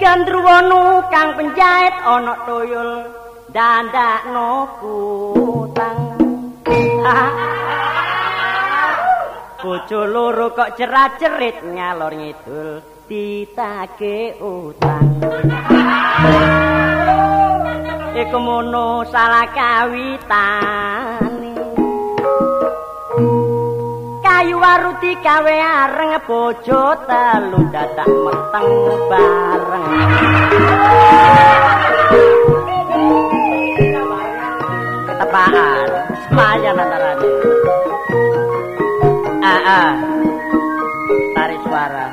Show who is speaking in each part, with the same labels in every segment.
Speaker 1: Gandruwanu kang penjait ana tuyul dandakno kutang. Bojo loro kok jerat-jerit ngalor ngidul ditake utang. Iku mono salah kawitane. Kayu waruti gawe areng bojo telu dadak meteng bareng. Ketepaan, semayan antarane. Ah, ah. Tarik suara.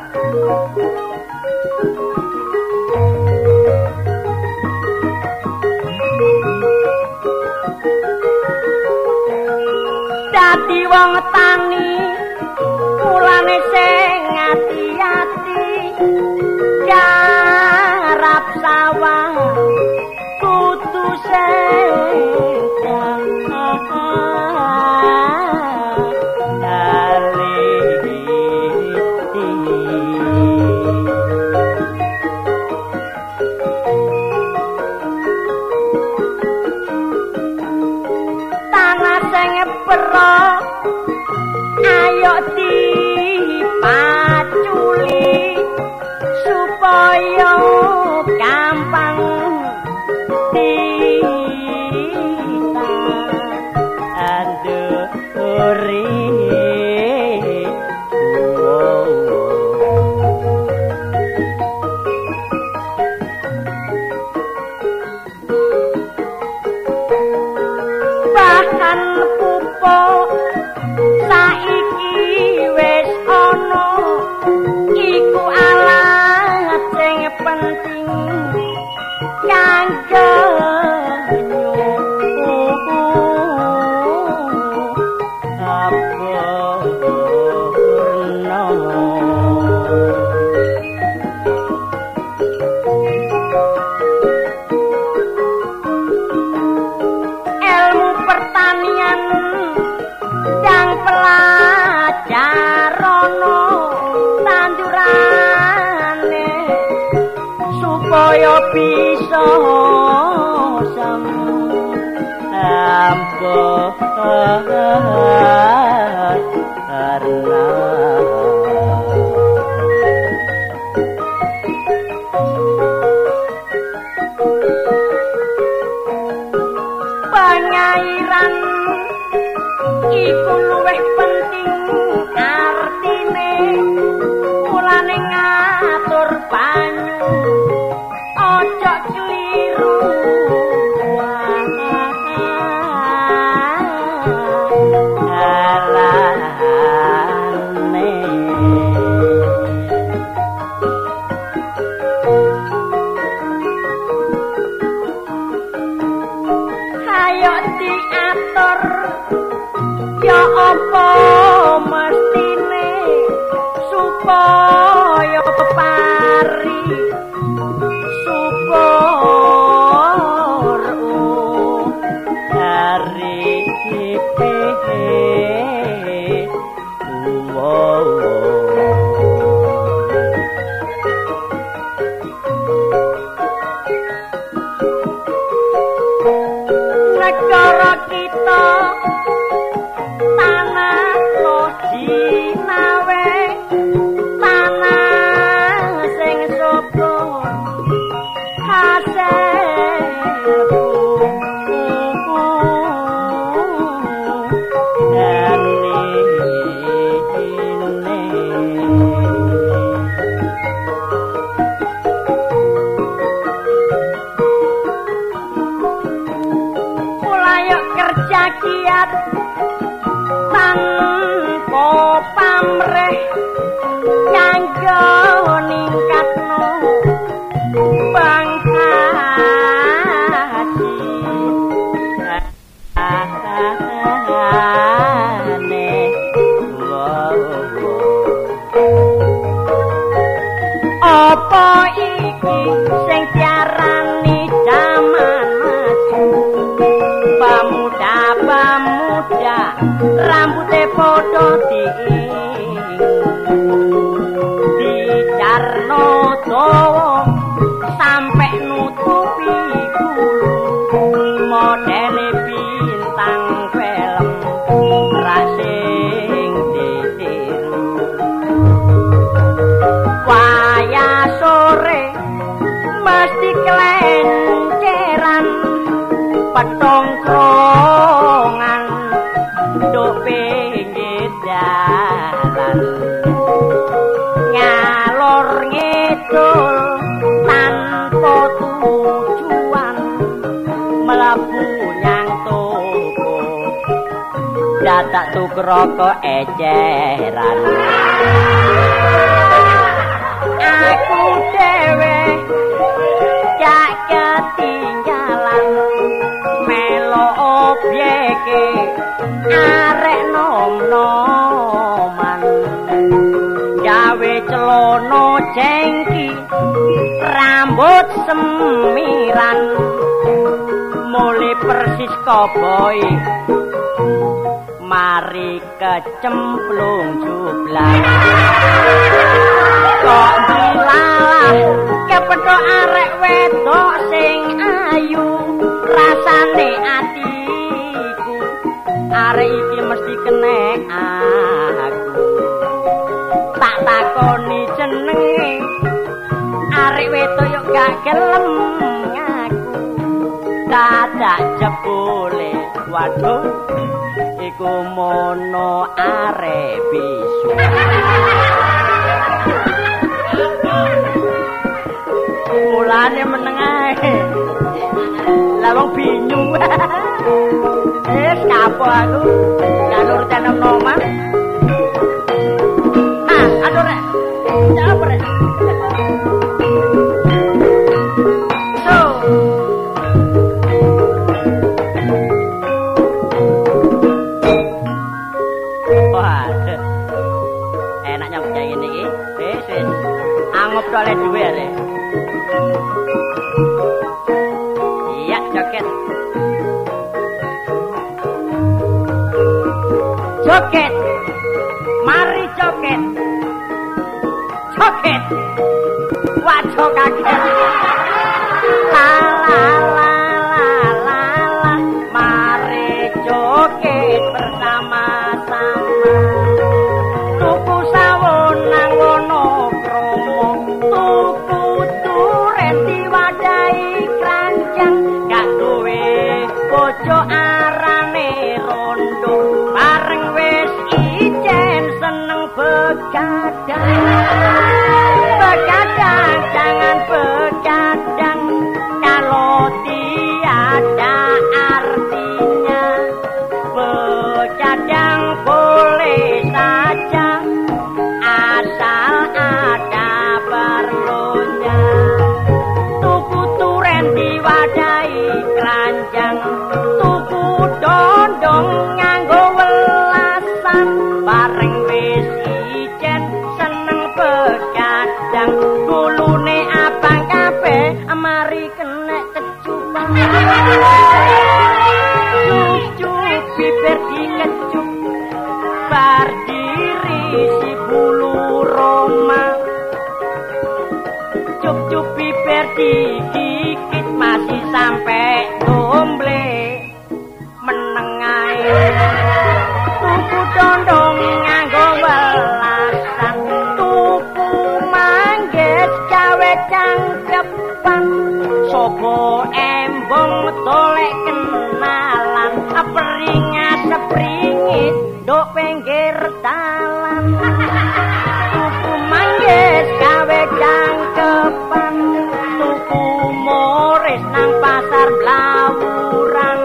Speaker 1: dadi wong tani mulane sing ati-ati garap sawah kudu sing dalem tanah sing pro ayo dipaculi supaya gampang ditanduri bahan pupuk saiki wis ana iku alat sing penting kanggo Apa ilmu pertanian yang pelajarono tandurane supaya bisa sampun eh, pengairan iku luwih penting artine mulane ngatur banyu ojo keliru Alane. Ayo diatur Ya apa mestine Supaya pari Supur Dari kipi negara kita tanah iki sing diarani jaman maju pemuda-pemuda rambute padha diiring dijarno dawa sampe nutupi gulu modele bintang film rasing ditiru wayah sore mesti kelenceran petong krongan nduk pinggir dalan ngalor ngidul tanpa tujuan mlebu nyang toko dadak tukroko eceran aku dhewe cak ketinggalan melo obyeke arek nom-noman gawe celono cengki rambut semiran mule persis koboi mari kecemplung jublang kok dilalah kepethuk arek wedok sing ayu rasane atiku arek iki mesti kenek aku tak takoni jenenge arek wedok yo gak gelem ngaku dadak jebule waduh iku mono arek bisu mulane meneng ae lah wong binyu wis kapok aku gak nurut nom-noman Ah, aduh rek. Jawab rek. So. Waduh. Enak nyong kayak ngene iki. Wis wis. Angop oleh duwe arek. Iya, joket. Joket. Mari joket. Joket. Waduh kaget. La la la la la la. Mari joket bersama-sama. Tuku sawon nang Wonokromo. Tuku duren diwadahi kranjang. Gak duwe bojo arane rondo. Bareng wis ijen seneng begadang. Begadang jangan begadang kalau tiada artinya. Begadang boleh saja asal ada perlunya. Tuku turen diwadahi keranjang Tuku dondong nganggo welasan Bareng wis ijen seneng begadang Gulune abang kabeh amari kena kecupan Cucuk bibir dikecup Bar diri si bulu roma cup-cup bibir digigit masih sampai domble menengai tuku dondong nganggo welasan tuku manggis gawe cangkepan sapa embong tolek kenalan apringas sepringit nduk pinggir dalan tuku manggis gawe cangkepan tuku moris nang pasar blawuran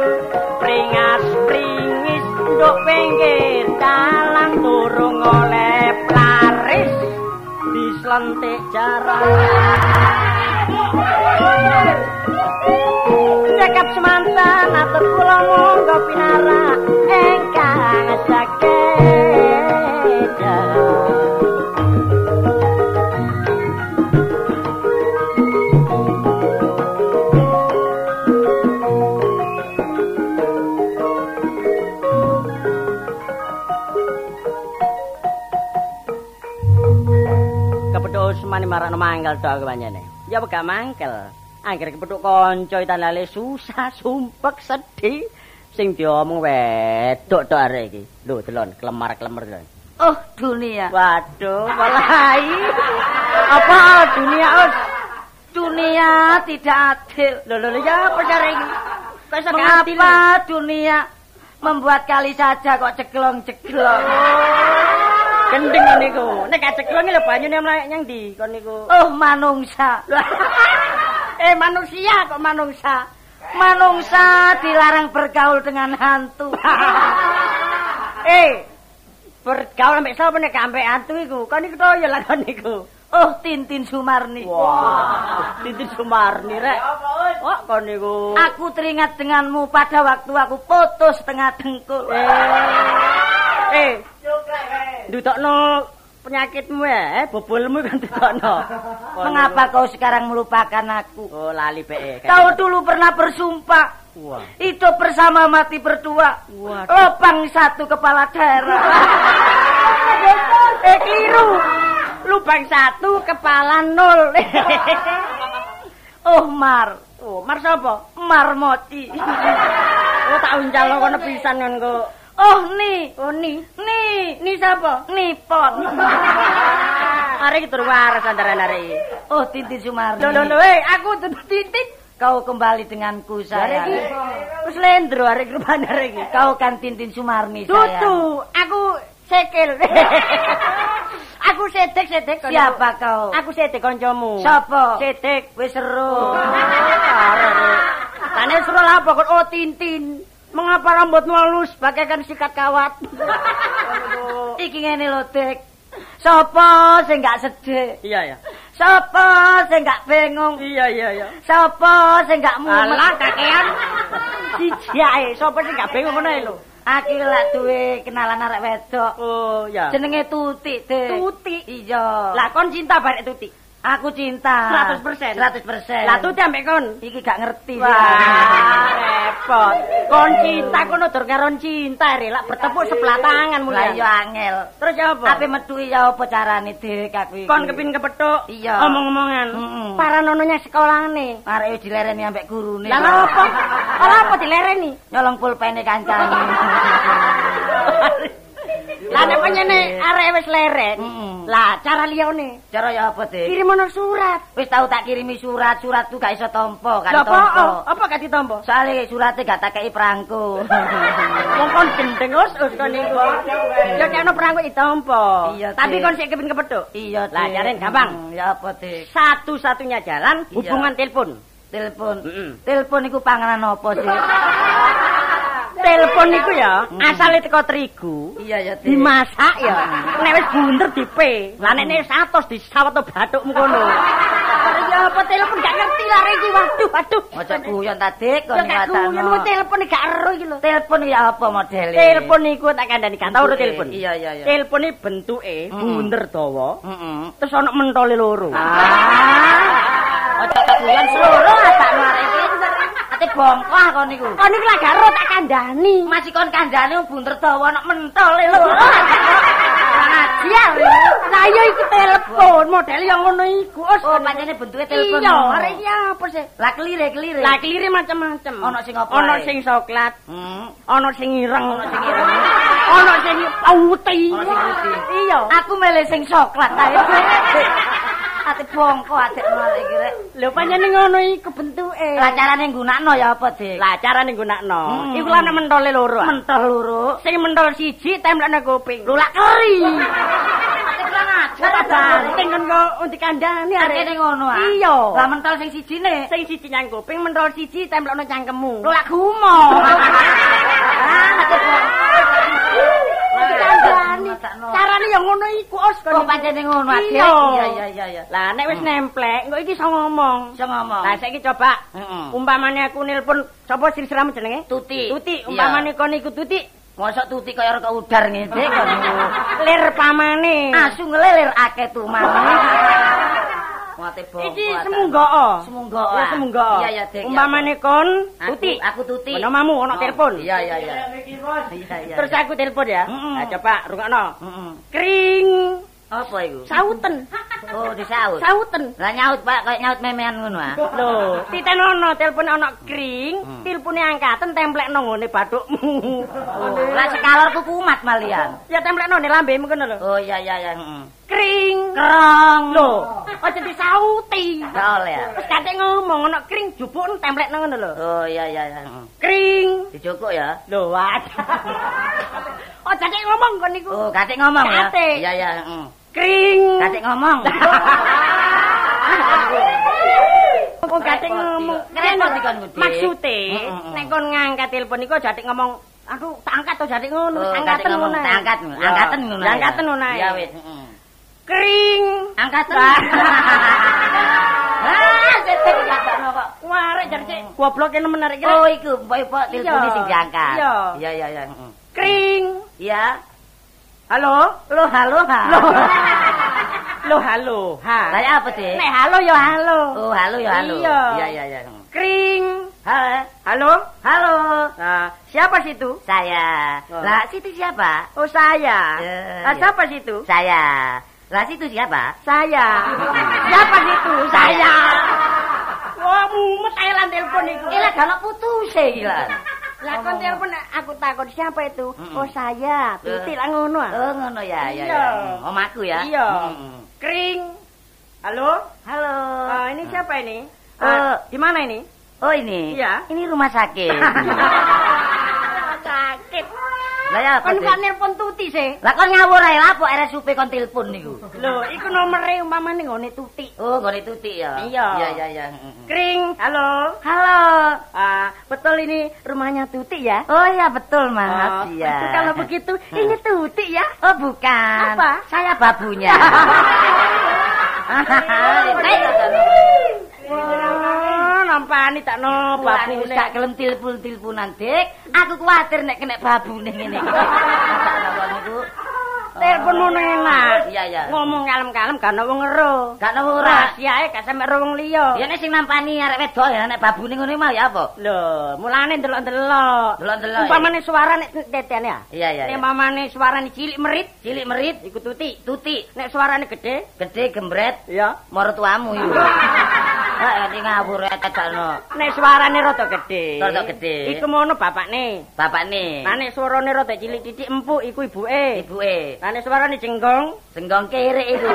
Speaker 1: pringas pringis nduk pinggir dalan turung oleh plaris dislentik jaran Cekap semantan atur kula monggo pinara engkang saged. mangkel to aku panjene. Ya wegak mangkel. Angger kepethuk kanca itan lali susah, sumpek, sedih. Sing diomong wedok to arek iki. Lho delon kelemar-kelemar delon.
Speaker 2: Oh, dunia.
Speaker 1: Waduh, walai. Apa oh, dunia os?
Speaker 2: Dunia tidak adil.
Speaker 1: Lho lho lho, ya apa cara iki? Kok iso ganti lho?
Speaker 2: Mengapa dunia membuat kali saja kok ceglong-ceglong?
Speaker 1: Gendeng ngene iku. Nek kaceklong iki lho banyune mlayak nyang ndi kon niku.
Speaker 2: Oh, manungsa.
Speaker 1: eh manusia kok manusia.
Speaker 2: Manungsa dilarang bergaul dengan hantu.
Speaker 1: Eh, bergaul ambek sapa nek gak ambek atu iku? Kon iku to ya lakon niku.
Speaker 2: Oh, Tintin Sumarni.
Speaker 1: Wah, Titin Sumarni rek. Wah, kon niku.
Speaker 2: Aku teringat denganmu pada waktu aku putus tengah dengkul.
Speaker 1: Eh. Eh, ndutokno penyakitmu ya, eh bobolmu kan ndutokno. Kon
Speaker 2: Mengapa kau sekarang melupakan aku?
Speaker 1: niku. Oh, lali peke.
Speaker 2: Kau dulu pernah bersumpah
Speaker 1: Wah.
Speaker 2: Hidup bersama mati berdua
Speaker 1: Waduh.
Speaker 2: Lopang satu kepala daerah
Speaker 1: Eh keliru. Lubang satu, kepala nol.
Speaker 2: Oh Mar
Speaker 1: oh, mar sapa?
Speaker 2: Marmoti
Speaker 1: Oh, tak uncal kono pisan kan kok.
Speaker 2: Oh Ni
Speaker 1: Oh, ni.
Speaker 2: Ni
Speaker 1: Ni sapa?
Speaker 2: Nipon
Speaker 1: Arek iki turwar sandaran arek iki.
Speaker 2: Oh Tintin Sumarni
Speaker 1: Lho lho lho, eh aku tutup titik.
Speaker 2: Kau kembali denganku
Speaker 1: Arek iki
Speaker 2: sayang
Speaker 1: wis lendro arek iki rupane arek iki.
Speaker 2: Kau kan Tintin Sumarni
Speaker 1: Dudu,
Speaker 2: sayang
Speaker 1: aku sekil. aku sedek sedek kono.
Speaker 2: Siapa kau?
Speaker 1: Aku sedek kancamu.
Speaker 2: Sapa?
Speaker 1: Sedek.
Speaker 2: Wis seru Ah,
Speaker 1: Tane suruh apa kok oh Tintin. Mengapa rambutmu halus bagaikan sikat kawat?
Speaker 2: Iki ngene lho Dek Sopo sing gak sedih
Speaker 1: Iya ya.
Speaker 2: Sopo sing gak bingung
Speaker 1: Iya iya iya.
Speaker 2: Sopo sing gak mumet?
Speaker 1: Alah kakean. Sijae, sapa sing gak bingung ngono lho.
Speaker 2: Aku lak duwe kenalan arek wedok.
Speaker 1: Oh ya.
Speaker 2: Jenenge Tuti, Dek.
Speaker 1: Tuti?
Speaker 2: Iya.
Speaker 1: Lah kon cinta barek Tuti.
Speaker 2: aku cinta.
Speaker 1: 100%?
Speaker 2: 100%.
Speaker 1: Lah Tuti ambek kon.
Speaker 2: iki gak ngerti
Speaker 1: Wah, repot. Kon cinta kono dur karon cinta re, lak bertepuk sebelah tangan
Speaker 2: Lah
Speaker 1: mulai.
Speaker 2: yo angel.
Speaker 1: Terus ya apa?
Speaker 2: Ape metu ya apa carane, Dek, aku iki.
Speaker 1: kon kepin kepethuk.
Speaker 2: Iya.
Speaker 1: Omong-omongan.
Speaker 2: Mm-mm.
Speaker 1: Paranononya sekolahane.
Speaker 2: Arek yo dilereni ambek gurune.
Speaker 1: Lah lha apa? Lah apa dilereni?
Speaker 2: Nyolong pulpene kancane.
Speaker 1: Lah nek penyene arek wis leren.
Speaker 2: Mm-mm.
Speaker 1: Lah cara liyane
Speaker 2: Cara ya apa, Dek?
Speaker 1: kirim ono surat.
Speaker 2: Wis tau tak kirimi surat, surat tuh gak iso tompo, gak
Speaker 1: Lah apa? Oh,
Speaker 2: ditompo.
Speaker 1: Apa gak ditampa?
Speaker 2: Soale surate gak tak kei perangku.
Speaker 1: Wong kon gendeng us us kon niku. Ya kene perang kok ditampa.
Speaker 2: Iya, Dik.
Speaker 1: Tapi kon sik kepin kepethuk.
Speaker 2: iya,
Speaker 1: Lah,
Speaker 2: Dik.
Speaker 1: jaren gampang.
Speaker 2: Hmm, Ya apa, Dik?
Speaker 1: Satu-satunya jalan
Speaker 2: Iya.
Speaker 1: hubungan telepon.
Speaker 2: Telepon.
Speaker 1: Mm-mm.
Speaker 2: Telepon iku panganan apa, Dik?
Speaker 1: Telepon niku ya asale teko terigu.
Speaker 2: iya ya, Dik.
Speaker 1: Dimasak ya. Nek wis bunder dipe. Lah nek nek 100 disawet bathukmu kono. Ya apa telepon gak ngerti lah iki. Waduh, waduh.
Speaker 2: Ojo guyon ta, Dik,
Speaker 1: Ya
Speaker 2: kon
Speaker 1: gak guyon
Speaker 2: ngwatano.
Speaker 1: mu telepon gak ero iki lho.
Speaker 2: Telepon ya apa modele?
Speaker 1: Telepon niku tak kandhani gak tau lho
Speaker 2: Bentuke.
Speaker 1: telepon.
Speaker 2: Iya, iya, Hmm. iya.
Speaker 1: Telepone bentuke bunder dawa.
Speaker 2: Heeh.
Speaker 1: Terus ana mentole loro.
Speaker 2: Ah. Ojo guyon seluruh tak arek iki. Ate bongkoh kon niku.
Speaker 1: Kon niku lah gak ero tak kandhani.
Speaker 2: Masih kon kandhane bunter dawa nok mentole lho. Ngajiar.
Speaker 1: Lah iya iki telepon, modele yang ngono iku. Us.
Speaker 2: Oh, pancene bentuke telepon.
Speaker 1: Iya, arek iki apa sih?
Speaker 2: Lah kelire-kelire.
Speaker 1: Lah kelire macam-macam.
Speaker 2: Ono sing apa
Speaker 1: Ono
Speaker 2: ae?
Speaker 1: sing coklat,
Speaker 2: Hmm.
Speaker 1: ono sing ireng,
Speaker 2: Ono sing ireng.
Speaker 1: Ono sing putih.
Speaker 2: Ono sing putih.
Speaker 1: Iya.
Speaker 2: Aku milih sing coklat ae. Ate bongko adek malah iki rek.
Speaker 1: Lho panjenengan ngono iku bentuke.
Speaker 2: Lah carane nggunakno ya apa, Dik?
Speaker 1: Lah carane nggunakno.
Speaker 2: Hmm.
Speaker 1: Iku lan mentole loro. ah.
Speaker 2: mentol loro.
Speaker 1: Sing mentol siji templekne kuping. Lho
Speaker 2: Lulak keri.
Speaker 1: ati kurang ajar banting kon kok undi kandhane
Speaker 2: Kene ngono ah.
Speaker 1: Iya.
Speaker 2: Lah mentol sing sijine.
Speaker 1: Sing siji nyang kuping mentol siji templekno cangkemmu.
Speaker 2: Lulak gumo. Ah, ate
Speaker 1: Undi kandhane. Carane ya ngono iku os
Speaker 2: Kok pancene ngono, Adik?
Speaker 1: Iya.
Speaker 2: Iya, iya, iya, iya.
Speaker 1: Lah nek wis nemplek engko iki iso ngomong.
Speaker 2: Iso ngomong.
Speaker 1: Lah saiki coba
Speaker 2: Heeh.
Speaker 1: umpamane aku nelpon sapa sirsiramu jenenge?
Speaker 2: Hmm. Tuti.
Speaker 1: Tuti,
Speaker 2: Iya.
Speaker 1: umpamane kon iku Tuti.
Speaker 2: Mosok tuti kaya rek udar ngene kan.
Speaker 1: Lir pamane.
Speaker 2: Asu ngelelir akeh tumane. Wate bongko.
Speaker 1: Iki
Speaker 2: ate.
Speaker 1: semunggo.
Speaker 2: Semunggo.
Speaker 1: Ya semunggo.
Speaker 2: Iya, iya, Dik.
Speaker 1: Umpamane kon
Speaker 2: Aku-
Speaker 1: Tuti.
Speaker 2: Aku tuti.
Speaker 1: Ono mamu ono
Speaker 2: Oh,
Speaker 1: telepon.
Speaker 2: Iya, iya, iya. Iya, iya.
Speaker 1: Terus aku telepon ya.
Speaker 2: Mm-mm.
Speaker 1: Nah, coba rungokno.
Speaker 2: Heeh.
Speaker 1: Kring.
Speaker 2: Apa iku?
Speaker 1: Sauten.
Speaker 2: Oh, disaut.
Speaker 1: Sauten.
Speaker 2: Lah nyaut, Pak, kayak nyaut memean ngono ah.
Speaker 1: Lho, titen ono telepon ono kring,
Speaker 3: Hmm.
Speaker 1: telepone angkaten templekno ngene bathukmu.
Speaker 2: Lah sekalor kuku umat malian.
Speaker 1: Ya templekno ne lambemu ngono lho.
Speaker 2: Oh, iya iya iya, heeh.
Speaker 1: Kring.
Speaker 2: Kerong.
Speaker 1: Lho, aja disauti.
Speaker 2: Gak oleh ya.
Speaker 1: Terus katik ngomong ono kring jupuk templekno ngono lho.
Speaker 2: Oh, iya iya iya. heeh.
Speaker 1: Kring.
Speaker 2: Dicukuk ya.
Speaker 1: Lho, wat. Aja nek Oh, ngomong kon niku.
Speaker 2: Oh, katik ngomong ya.
Speaker 1: Katik.
Speaker 2: Iya iya, heeh.
Speaker 1: Kring.
Speaker 2: Katik ngomong.
Speaker 1: Wong katik ngomong.
Speaker 2: Oh, Repot iki kon Budi.
Speaker 1: Maksude,
Speaker 2: Mm, mm, mm.
Speaker 1: nek kon ngangkat telepon niku aja nek ngomong, aduh, tak angkat to jatik ngono,
Speaker 2: Oh,
Speaker 1: wis
Speaker 2: katik
Speaker 1: angkaten
Speaker 2: ngomong,
Speaker 1: ngono.
Speaker 2: tak angkat,
Speaker 1: Ya.
Speaker 2: angkaten ngono.
Speaker 1: Ya, Angkaten ngono. ae.
Speaker 2: Ya wis, heeh.
Speaker 1: Kring.
Speaker 2: Angkaten.
Speaker 1: Lah.
Speaker 2: Ah, cetek jatokno kok. Hmm.
Speaker 1: Warek jatik gobloke nemen arek kira.
Speaker 2: Oh, iku mbok telepon
Speaker 1: Iya.
Speaker 2: sing diangkat.
Speaker 1: Iya.
Speaker 2: Iya iya iya, heeh.
Speaker 1: Kring.
Speaker 2: Iya.
Speaker 1: Halo?
Speaker 2: Loh, halo,
Speaker 1: Loh.
Speaker 2: halo.
Speaker 1: Loh, halo. Ha.
Speaker 2: Kayak apa sih?
Speaker 1: Nek halo ya halo.
Speaker 2: Oh, halo ya halo.
Speaker 1: Iya.
Speaker 2: Iya, iya, iya.
Speaker 1: Kring.
Speaker 2: Halo.
Speaker 1: Halo?
Speaker 2: Halo.
Speaker 1: Nah, siapa situ?
Speaker 2: Saya.
Speaker 1: Oh.
Speaker 2: Lah, situ siapa?
Speaker 1: Oh saya.
Speaker 2: Eh,
Speaker 1: Ah,
Speaker 2: iya.
Speaker 1: siapa situ?
Speaker 2: Saya. Lah, situ siapa?
Speaker 1: Saya. siapa situ?
Speaker 2: Saya.
Speaker 1: Saya. Wah, mumet ae lan telepon iku.
Speaker 2: Eh, lah, gak putuse iki lah.
Speaker 1: Lah kon telepon aku takon siapa itu?
Speaker 2: Mm-mm.
Speaker 1: Oh saya. Tuti lah ngono. ah.
Speaker 2: Oh, ngono ya,
Speaker 1: Iya.
Speaker 2: ya, ya. Om aku ya.
Speaker 1: Iya.
Speaker 2: Mm.
Speaker 1: Kring. Halo?
Speaker 2: Halo.
Speaker 1: Ah, ini siapa ini?
Speaker 2: Eh.
Speaker 1: Ah, di mana ini?
Speaker 2: Oh, ini.
Speaker 1: Iya.
Speaker 2: Ini rumah sakit.
Speaker 1: Sakit.
Speaker 2: Lah, ya apa
Speaker 1: Kon gak
Speaker 2: sih?
Speaker 1: nelpon Tuti sih.
Speaker 2: Lah, kon ngawur ae lapo RSUP kon telepon niku.
Speaker 1: Loh, iku nomere umpamane ngone Tuti.
Speaker 2: Oh, gone tuti ya.
Speaker 1: Iya.
Speaker 2: Iya, iya, iya. Mm.
Speaker 1: Kring. Halo?
Speaker 2: Halo.
Speaker 1: Ah, betul ini rumahnya Tuti ya?
Speaker 2: Oh iya betul maaf
Speaker 1: Oh,
Speaker 2: ya.
Speaker 1: itu Kalau begitu, ini Tuti ya?
Speaker 2: Oh bukan.
Speaker 1: Apa?
Speaker 2: Saya babunya.
Speaker 1: Eh, Wah, nampani tak no
Speaker 2: Babu
Speaker 1: babune.
Speaker 2: tak gelem tilpun-tilpunan, Dik. Aku kuwatir nek kena babune ngene iki. Tak napa niku.
Speaker 1: Telepon mono enak.
Speaker 2: Iya, iya.
Speaker 1: Ngomong kalem-kalem gak ono wong ngero.
Speaker 2: Gak napa ora.
Speaker 1: Rahasiae gak sampe ro wong liya.
Speaker 2: Ya nek sing nampani arek wedok ya nek babune ngono mau ya apa?
Speaker 1: Lho, mulane ndelok-ndelok.
Speaker 2: Ndelok-ndelok,
Speaker 1: Umpamane suara nek tetene ya.
Speaker 2: Iya, iya.
Speaker 1: Nek
Speaker 2: iya.
Speaker 1: mamane suarane cilik merit,
Speaker 2: Cilik merit,
Speaker 1: iku Tuti.
Speaker 2: tuti,
Speaker 1: Nek suarane gede,
Speaker 2: gede gembret,
Speaker 1: ya.
Speaker 2: mertuamu iku. Heeh, iki ngawur ae kadakno.
Speaker 1: Nek suarane rada gede.
Speaker 2: Oh. Rada gede.
Speaker 1: Iku mono bapakne.
Speaker 2: Bapakne,
Speaker 1: Lah nek suarane rada cilik titik empuk iku ibuke.
Speaker 2: ibuke,
Speaker 1: Lah nek suarane jenggong,
Speaker 2: Senggong kere iku.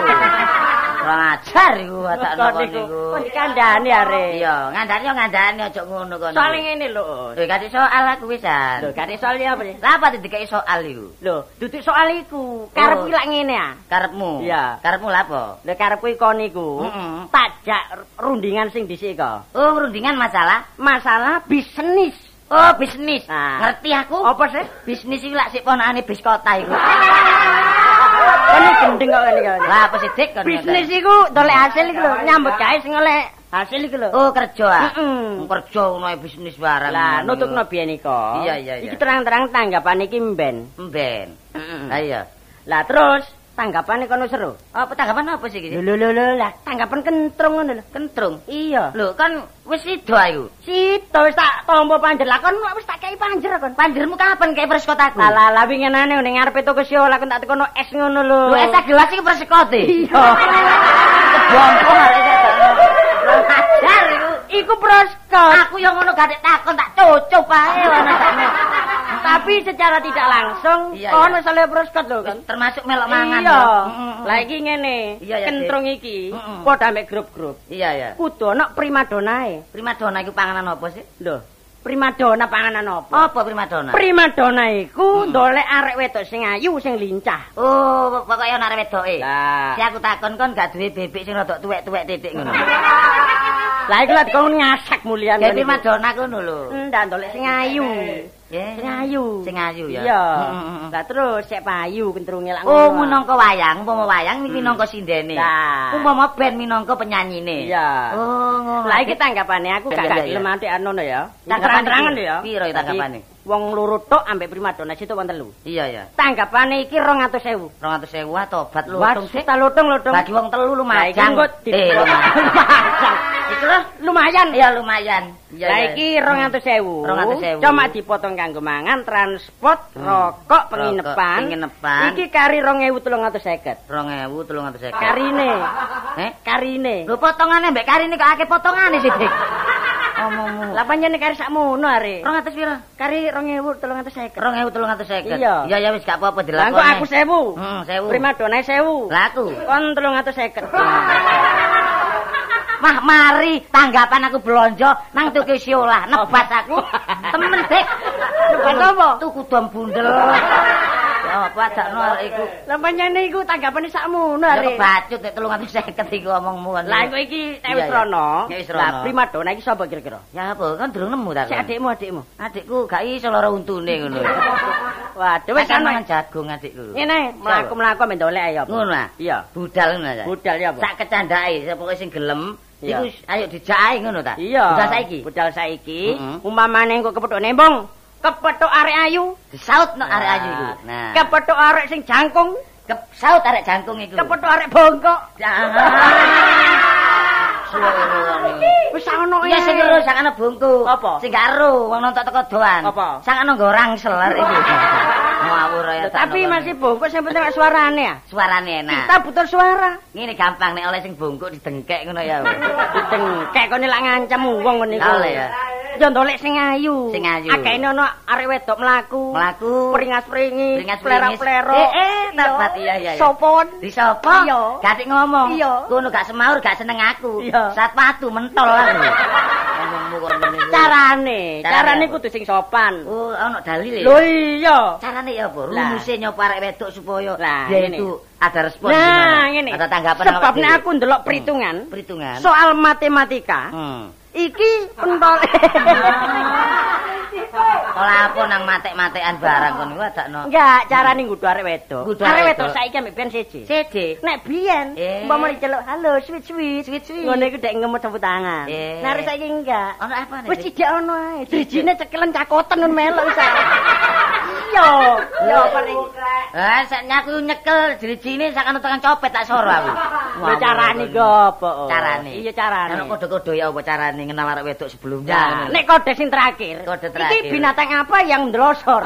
Speaker 2: Kurang ajar iku watak
Speaker 1: kok
Speaker 2: napa
Speaker 1: niku
Speaker 2: niku.
Speaker 1: kon dikandhani are.
Speaker 2: Iya, ngandani yo ngandani aja ngono kono.
Speaker 1: Soale ngene lho.
Speaker 2: Lho, gak ada soal aku wisan.
Speaker 1: Lho, gak ada soal ya apa sih?
Speaker 2: Lah apa didikai soal iku?
Speaker 1: Lho, duduk soal iku. Karepku
Speaker 2: Oh.
Speaker 1: lak ngene ah.
Speaker 2: Karepmu.
Speaker 1: Iya. Oh.
Speaker 2: Karepmu lha apa?
Speaker 1: Lho karepku iko niku.
Speaker 2: Mm-mm.
Speaker 1: Pajak rundingan sing dhisik kok.
Speaker 2: Oh, rundingan masalah.
Speaker 1: Masalah bisnis.
Speaker 2: Oh, bisnis.
Speaker 1: Nah.
Speaker 2: Ngerti aku?
Speaker 1: Apa sih?
Speaker 2: Bisnis iku lak sik ponakane bis kota iku.
Speaker 1: Kon gendeng kok ngene kok.
Speaker 2: Lah apa sih dik kon?
Speaker 1: Bisnis iku dolek hasil iku lho, nyambut gawe sing oleh hasil iku lho.
Speaker 2: Oh, kerja ah.
Speaker 1: Mm-mm.
Speaker 2: Kerja ono ae bisnis barang.
Speaker 1: Lah nutupno biyen iko.
Speaker 2: Hmm. Iya, iya, iya.
Speaker 1: Iki terang-terang tanggapan iki mben.
Speaker 2: Mben. Lah iya.
Speaker 1: Lah terus tanggapane kono seru.
Speaker 2: Apa tanggapan apa sih iki?
Speaker 1: Lho lho lho lho, lah tanggapan kentrung ngono lho.
Speaker 2: Kentrung.
Speaker 1: Iya.
Speaker 2: Lho kan wis sida iku.
Speaker 1: Sito wis tak tampa panjer lah kon wis tak kei panjer kon.
Speaker 2: Panjermu kapan kaya perskotaku?
Speaker 1: Lah lah lah winginane ning ngarepe toko Siola aku tak tekono es ngono lho.
Speaker 2: Lho es gelas iki perskote.
Speaker 1: Iya.
Speaker 2: Bompong arek sedono. Ngajar iku.
Speaker 1: Iku proskot.
Speaker 2: Aku yang ngono gak takon tak cucup ae ono sakno.
Speaker 1: Tapi secara tidak langsung
Speaker 2: Iya,
Speaker 1: kon
Speaker 2: iya.
Speaker 1: wis oleh proskot lho kan.
Speaker 2: Termasuk melok mangan.
Speaker 1: Iya.
Speaker 2: Mm-mm.
Speaker 1: Lah iki ngene,
Speaker 2: Iya, iya,
Speaker 1: kentrung iki
Speaker 2: Mm-mm.
Speaker 1: padha mek grup-grup.
Speaker 2: Iya ya.
Speaker 1: Kudu ana primadonae.
Speaker 2: Primadona iku panganan apa sih?
Speaker 1: Lho, e. primadona panganan apa?
Speaker 2: Apa primadona?
Speaker 1: Primadona
Speaker 2: Hmm.
Speaker 1: iku ndolek arek wedok sing ayu sing lincah.
Speaker 2: Oh, pokoke ana arek wedoke. Si
Speaker 1: Lah,
Speaker 2: aku takon kon gak duwe bebek sing rodok tuwek-tuwek titik ngono.
Speaker 1: lah iku lak dikon ngasak mulian.
Speaker 2: Kayak primadona ngono lho.
Speaker 1: Ndak ndolek sing ayu.
Speaker 2: Yeah.
Speaker 1: Sing ayu.
Speaker 2: Sing ayu ya.
Speaker 1: Iya.
Speaker 2: Mm-mm.
Speaker 1: Lah terus sek payu kentrunge lak
Speaker 2: hmm, Oh, minangka wayang, umpama wayang
Speaker 1: Mm.
Speaker 2: iki minangka sindene.
Speaker 1: Lah.
Speaker 2: Umpama band minangka penyanyine.
Speaker 1: Iya.
Speaker 2: Oh, ngono.
Speaker 1: Lah iki tanggapane aku
Speaker 2: Iya,
Speaker 1: gak
Speaker 2: iya,
Speaker 1: gak
Speaker 2: iya.
Speaker 1: gelem ati anono ya. Iki
Speaker 2: Tanggapane
Speaker 1: Terang-terangan
Speaker 2: piro?
Speaker 1: ya.
Speaker 2: Piro iki tanggapane?
Speaker 1: Tapi Wong loro tok ambek primadona situ wong telu.
Speaker 2: Iya, iya.
Speaker 1: Tanggapane iki 200.000.
Speaker 2: 200.000 ah, tobat lu.
Speaker 1: Wah,
Speaker 2: Untung sik.
Speaker 1: tak lotong lotong.
Speaker 2: Bagi wong telu
Speaker 1: Lah iki
Speaker 2: lumajang.
Speaker 1: engko
Speaker 2: Eh, lumajang.
Speaker 1: dipajang.
Speaker 2: Iki lho,
Speaker 1: lumayan.
Speaker 2: Ya lumayan. Ya,
Speaker 1: Lah
Speaker 2: ya.
Speaker 1: iki 200.000.
Speaker 2: 200.000.
Speaker 1: Cuma dipotong kanggo mangan, transport,
Speaker 2: Hmm.
Speaker 1: rokok, penginepan.
Speaker 2: penginepan.
Speaker 1: Iki kari 2.350.
Speaker 2: 2350.
Speaker 1: Karine,
Speaker 2: Eh?
Speaker 1: karine.
Speaker 2: Lho potongane mbek karine kok akeh potongane sih, Dik. Omongmu.
Speaker 1: Lah panjenengan kari sakmono are.
Speaker 2: 200 pira?
Speaker 1: Kari 2.350.
Speaker 2: 2350.
Speaker 1: Iya.
Speaker 2: Ya ya wis gak apa-apa
Speaker 1: Lah
Speaker 2: dilakoni.
Speaker 1: engko aku 1.000.
Speaker 2: Hmm, 1000.
Speaker 1: Primadona 1.000.
Speaker 2: Laku.
Speaker 1: Kon 350.
Speaker 2: Mah mari tanggapan aku blonjo nang tuku siolah nebat aku. Temen Dik.
Speaker 1: Nebat apa?
Speaker 2: Tuku dom bundel. Ya apa dakno arek iku.
Speaker 1: Lah panjenengan iku tanggapane sakmono
Speaker 2: Ya
Speaker 1: are.
Speaker 2: kebacut Dik 350 iku omongmu.
Speaker 1: Lah engko iki
Speaker 2: Iya,
Speaker 1: wis
Speaker 2: iya.
Speaker 1: rono.
Speaker 2: Ya, wis rono.
Speaker 1: Lah primadona iki sapa kira-kira?
Speaker 2: Ya apa kan durung nemu tak.
Speaker 1: Sik adikmu, adikmu.
Speaker 2: Adikku gak iso lara untune ngono.
Speaker 1: Waduh
Speaker 2: Wis
Speaker 1: wis
Speaker 2: kan
Speaker 1: ana.
Speaker 2: mangan jagung adikku.
Speaker 1: Ngene, mlaku-mlaku men dolek ae apa?
Speaker 2: Ngono ah?
Speaker 1: Iya.
Speaker 2: budal ngono ta.
Speaker 1: Budal ya apa?
Speaker 2: Sak kecandhake sapa sing gelem
Speaker 1: Iya.
Speaker 2: iku ayo dijake ngono ta.
Speaker 1: Iya.
Speaker 2: Budal saiki.
Speaker 1: Budal saiki,
Speaker 2: Mm-mm.
Speaker 1: umpamane engko kepethuk nembong, kepethuk arek ayu.
Speaker 2: Disaut no arek ayu iku.
Speaker 1: Nah.
Speaker 2: Nah.
Speaker 1: Kepethuk arek sing jangkung,
Speaker 2: Kep saut arek jangkung iku.
Speaker 1: kepethuk arek bongkok. Wis ana
Speaker 2: Iya sing karo sakana bungku.
Speaker 1: Apa?
Speaker 2: Sing karo wong nonton teko doan.
Speaker 1: Apa?
Speaker 2: Sakana nggo rangsel arek iku. Ngawur ya
Speaker 1: Tapi masih bongkok sing penting kok suarane ya.
Speaker 2: suarane enak.
Speaker 1: Kita butuh suara.
Speaker 2: Ngene gampang nek oleh sing bungkuk didengkek ngono ya.
Speaker 1: Dengkek kene lak ngancam wong ngene iki.
Speaker 2: Oleh ya.
Speaker 1: Ya ndolek sing ayu.
Speaker 2: Sing ayu.
Speaker 1: Akehne ana arek wedok mlaku.
Speaker 2: Mlaku.
Speaker 1: Peringas-peringi,
Speaker 2: Peringas-peringis.
Speaker 1: plera-plera.
Speaker 2: Eh, eh, tabat, iya, iya, iya.
Speaker 1: Sopon.
Speaker 2: Di sapa?
Speaker 1: Iya.
Speaker 2: Gak asik ngomong.
Speaker 1: Iya.
Speaker 2: Kono gak semaur, gak seneng aku.
Speaker 1: Iya.
Speaker 2: Satpatu mentol aku. Ngomongmu kok ngene. iki.
Speaker 1: Carane,
Speaker 2: Carane
Speaker 1: carane
Speaker 2: apa?
Speaker 1: kudu sing sopan.
Speaker 2: Oh, ana dalile.
Speaker 1: Lho iya.
Speaker 2: Carane ya apa?
Speaker 1: Lah.
Speaker 2: Rumuse nyopo arek wedok supaya
Speaker 1: Lah,
Speaker 2: dia
Speaker 1: ngene.
Speaker 2: itu ada respon
Speaker 1: Nah,
Speaker 2: gimana?
Speaker 1: ngene.
Speaker 2: Ada tanggapan
Speaker 1: Sebab nek
Speaker 2: awake dhewe.
Speaker 1: aku ndelok
Speaker 2: Hmm.
Speaker 1: perhitungan,
Speaker 2: Perhitungan.
Speaker 1: soal matematika,
Speaker 2: hmm.
Speaker 1: iki pentol.
Speaker 2: Ah. Ola apa nang matek-matekan barang kon iku adakno.
Speaker 1: Enggak, carane nggudu arek wedok.
Speaker 2: Nggudu
Speaker 1: Arek
Speaker 2: arek
Speaker 1: wedok
Speaker 2: wedok.
Speaker 1: saiki ambek ben siji.
Speaker 2: Sede.
Speaker 1: Nek biyen,
Speaker 2: Eh.
Speaker 1: umpama diceluk, "Halo, sweet-sweet."
Speaker 2: Sweet-sweet.
Speaker 1: Ngono iku dek ngemut tepuk tangan.
Speaker 2: Eh.
Speaker 1: Nah, arek saiki enggak.
Speaker 2: Ana apa nek?
Speaker 1: Wis cidak ono ae. Drijine cekelen cakoten ngono melok wis. ae. Iya. Iya, paring.
Speaker 2: Eh, saknya aku nyekel jerijine sakane tekan copet tak soro aku.
Speaker 1: Lho
Speaker 2: Hmm. Wah,
Speaker 1: carane
Speaker 2: ngono.
Speaker 1: gopo.
Speaker 2: Carane.
Speaker 1: Iya carane.
Speaker 2: Ana kode-kode ya apa carane ngenal arek wedok
Speaker 1: Nah,
Speaker 2: sebelumnya.
Speaker 1: nek kode sing terakhir.
Speaker 2: Kode terakhir.
Speaker 1: Iki binatang apa yang ndlosor?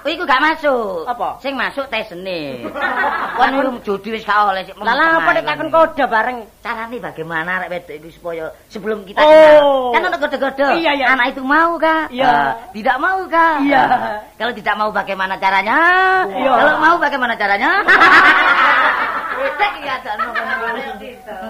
Speaker 2: Kuwi iku gak masuk.
Speaker 1: Apa?
Speaker 2: Sing masuk tesene. Kon urung judi wis gak oleh sik.
Speaker 1: Lah lah apa nek takon kode bareng?
Speaker 2: Carane bagaimana arek wedok iku supaya sebelum kita
Speaker 1: Oh.
Speaker 2: kenal. Kan ana kode-kode.
Speaker 1: Iya, iya.
Speaker 2: Anak itu mau kah?
Speaker 1: Iya.
Speaker 2: Eh, tidak mau kah?
Speaker 1: Iya.
Speaker 2: Eh, kalau tidak mau bagaimana caranya?
Speaker 1: Iya.
Speaker 2: Kalau mau bagaimana caranya? Wedok iki ada ngono-ngono.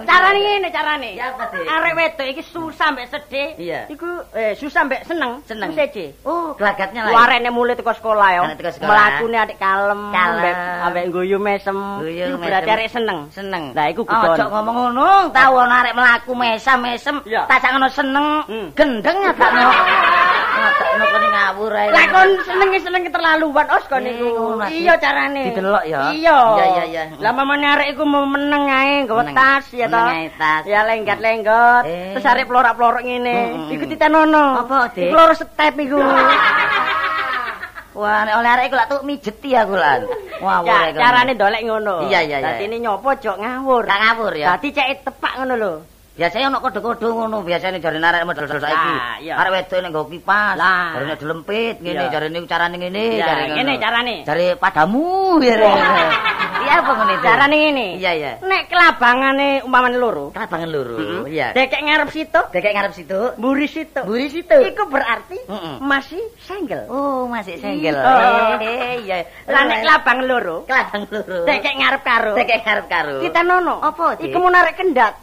Speaker 1: Carane ngene carane.
Speaker 2: Ya, apa, Dik?
Speaker 1: Arek wedok iki susah mbek sedih.
Speaker 2: Iya.
Speaker 1: Iku eh susah mbek seneng.
Speaker 2: Seneng.
Speaker 1: Seje.
Speaker 2: Oh, gelagatnya lah.
Speaker 1: Warene mulai teko sekolah yo.
Speaker 2: Arek teko sekolah.
Speaker 1: Mlakune atik kalem,
Speaker 2: Kalem.
Speaker 1: ambek- ambek guyu mesem.
Speaker 2: Guyu
Speaker 1: Iku
Speaker 2: mesem.
Speaker 1: Berarti arek seneng.
Speaker 2: seneng.
Speaker 1: Lah iku
Speaker 2: Oh, Ojo
Speaker 1: kudon.
Speaker 2: ngomong ngono, tau ana arek mlaku mesem-mesem,
Speaker 1: Iya.
Speaker 2: tak sakno seneng,
Speaker 1: Hmm.
Speaker 2: gendeng ngadakno. Ngadakno kene ngawur ae.
Speaker 1: Lah kon senenge-senenge terlaluan os kon
Speaker 2: Eh,
Speaker 1: niku.
Speaker 2: ngono, Dik.
Speaker 1: Iya carane.
Speaker 2: Didelok ya?
Speaker 1: Iya.
Speaker 2: Iya, iya, iya.
Speaker 1: Lah mamane arek iku mau meneng ae nggawa
Speaker 2: Meneng.
Speaker 1: tas ya to.
Speaker 2: Meneng ae tas.
Speaker 1: Ya lenggat-lenggot.
Speaker 2: Eh.
Speaker 1: Terus arek plorak-plorok ngene.
Speaker 2: Mm-mm.
Speaker 1: Iku titenono.
Speaker 2: Apa, Dik?
Speaker 1: Iku loro step iku.
Speaker 2: Wah, nek oleh arek iku lak tuk mijeti aku lan. Ngawur
Speaker 1: Ya,
Speaker 2: ae. kon.
Speaker 1: carane dolek ngono.
Speaker 2: Iya, iya, iya.
Speaker 1: Dadi ini nyopo jok ngawur.
Speaker 2: Gak ngawur ya.
Speaker 1: Dadi cek tepak ngono lho.
Speaker 2: Biasanya ono kode-kode ngono, biasanya jarine arek model saiki.
Speaker 1: Lah, iya.
Speaker 2: Arek wedok nek nggo kipas,
Speaker 1: Lah.
Speaker 2: jarine dilempit ngene,
Speaker 1: Iya.
Speaker 2: jarine carane ngene,
Speaker 1: Iya,
Speaker 2: jarine
Speaker 1: ngene carane.
Speaker 2: Jare padamu ya. Iya apa ngene itu?
Speaker 1: Carane ngene.
Speaker 2: Iya, iya.
Speaker 1: Nek kelabangane umpamane loro.
Speaker 2: Kelabangan loro. Iya.
Speaker 1: Dekek ngarep situ,
Speaker 2: Dekek ngarep situ.
Speaker 1: mburi situ.
Speaker 2: Buri situ.
Speaker 1: Iku berarti
Speaker 2: Mm-mm.
Speaker 1: masih single.
Speaker 2: Oh, masih single.
Speaker 1: Iya.
Speaker 2: Eh, iya.
Speaker 1: Lah nek labang loro,
Speaker 2: kelabang loro.
Speaker 1: dekek ngarep karo.
Speaker 2: Dekek ngarep karo.
Speaker 1: Kita nono.
Speaker 2: Apa, Dik?
Speaker 1: Iku mau narik kendat.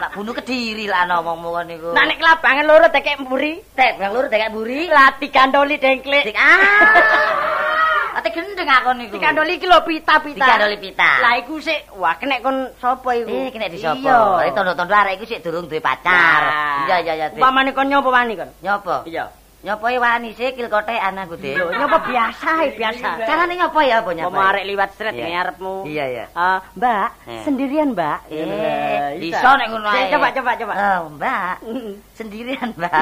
Speaker 2: tak bunuh kediri lah ngomong ngono niku.
Speaker 1: Nah nek labangan loro dekek mburi,
Speaker 2: kelabang loro dekek buri.
Speaker 1: lah dikandoli dengklek.
Speaker 2: Dik ah. Ate gendeng aku niku.
Speaker 1: Dikandoli iki lho pita-pita.
Speaker 2: Dikandoli pita.
Speaker 1: Lah iku sik wah kena kon sapa iku?
Speaker 2: Eh, kena disapa. Iki
Speaker 1: Iya.
Speaker 2: tondo-tondo arek iku sik durung duwe pacar. Iya, iya, iya. Dik.
Speaker 1: Upamane kon nyopo wani kon?
Speaker 2: Nyopo?
Speaker 1: Iya.
Speaker 2: Nyopo e wani sikil kotekan aku, Dik.
Speaker 1: Lho nyopo biasa, ae, biasa.
Speaker 2: Carane nyopo ya apa nyopo? e?
Speaker 1: Mau arek liwat sret
Speaker 2: Iya.
Speaker 1: ngarepmu.
Speaker 2: Iya, iya.
Speaker 1: Eh, Mbak,
Speaker 2: Eh.
Speaker 1: sendirian, Mbak.
Speaker 2: Eh,
Speaker 1: Bisa.
Speaker 2: iso nek ngono ae.
Speaker 1: Coba coba coba.
Speaker 2: Oh, Mbak.
Speaker 1: Mm-mm.
Speaker 2: Sendirian, Mbak.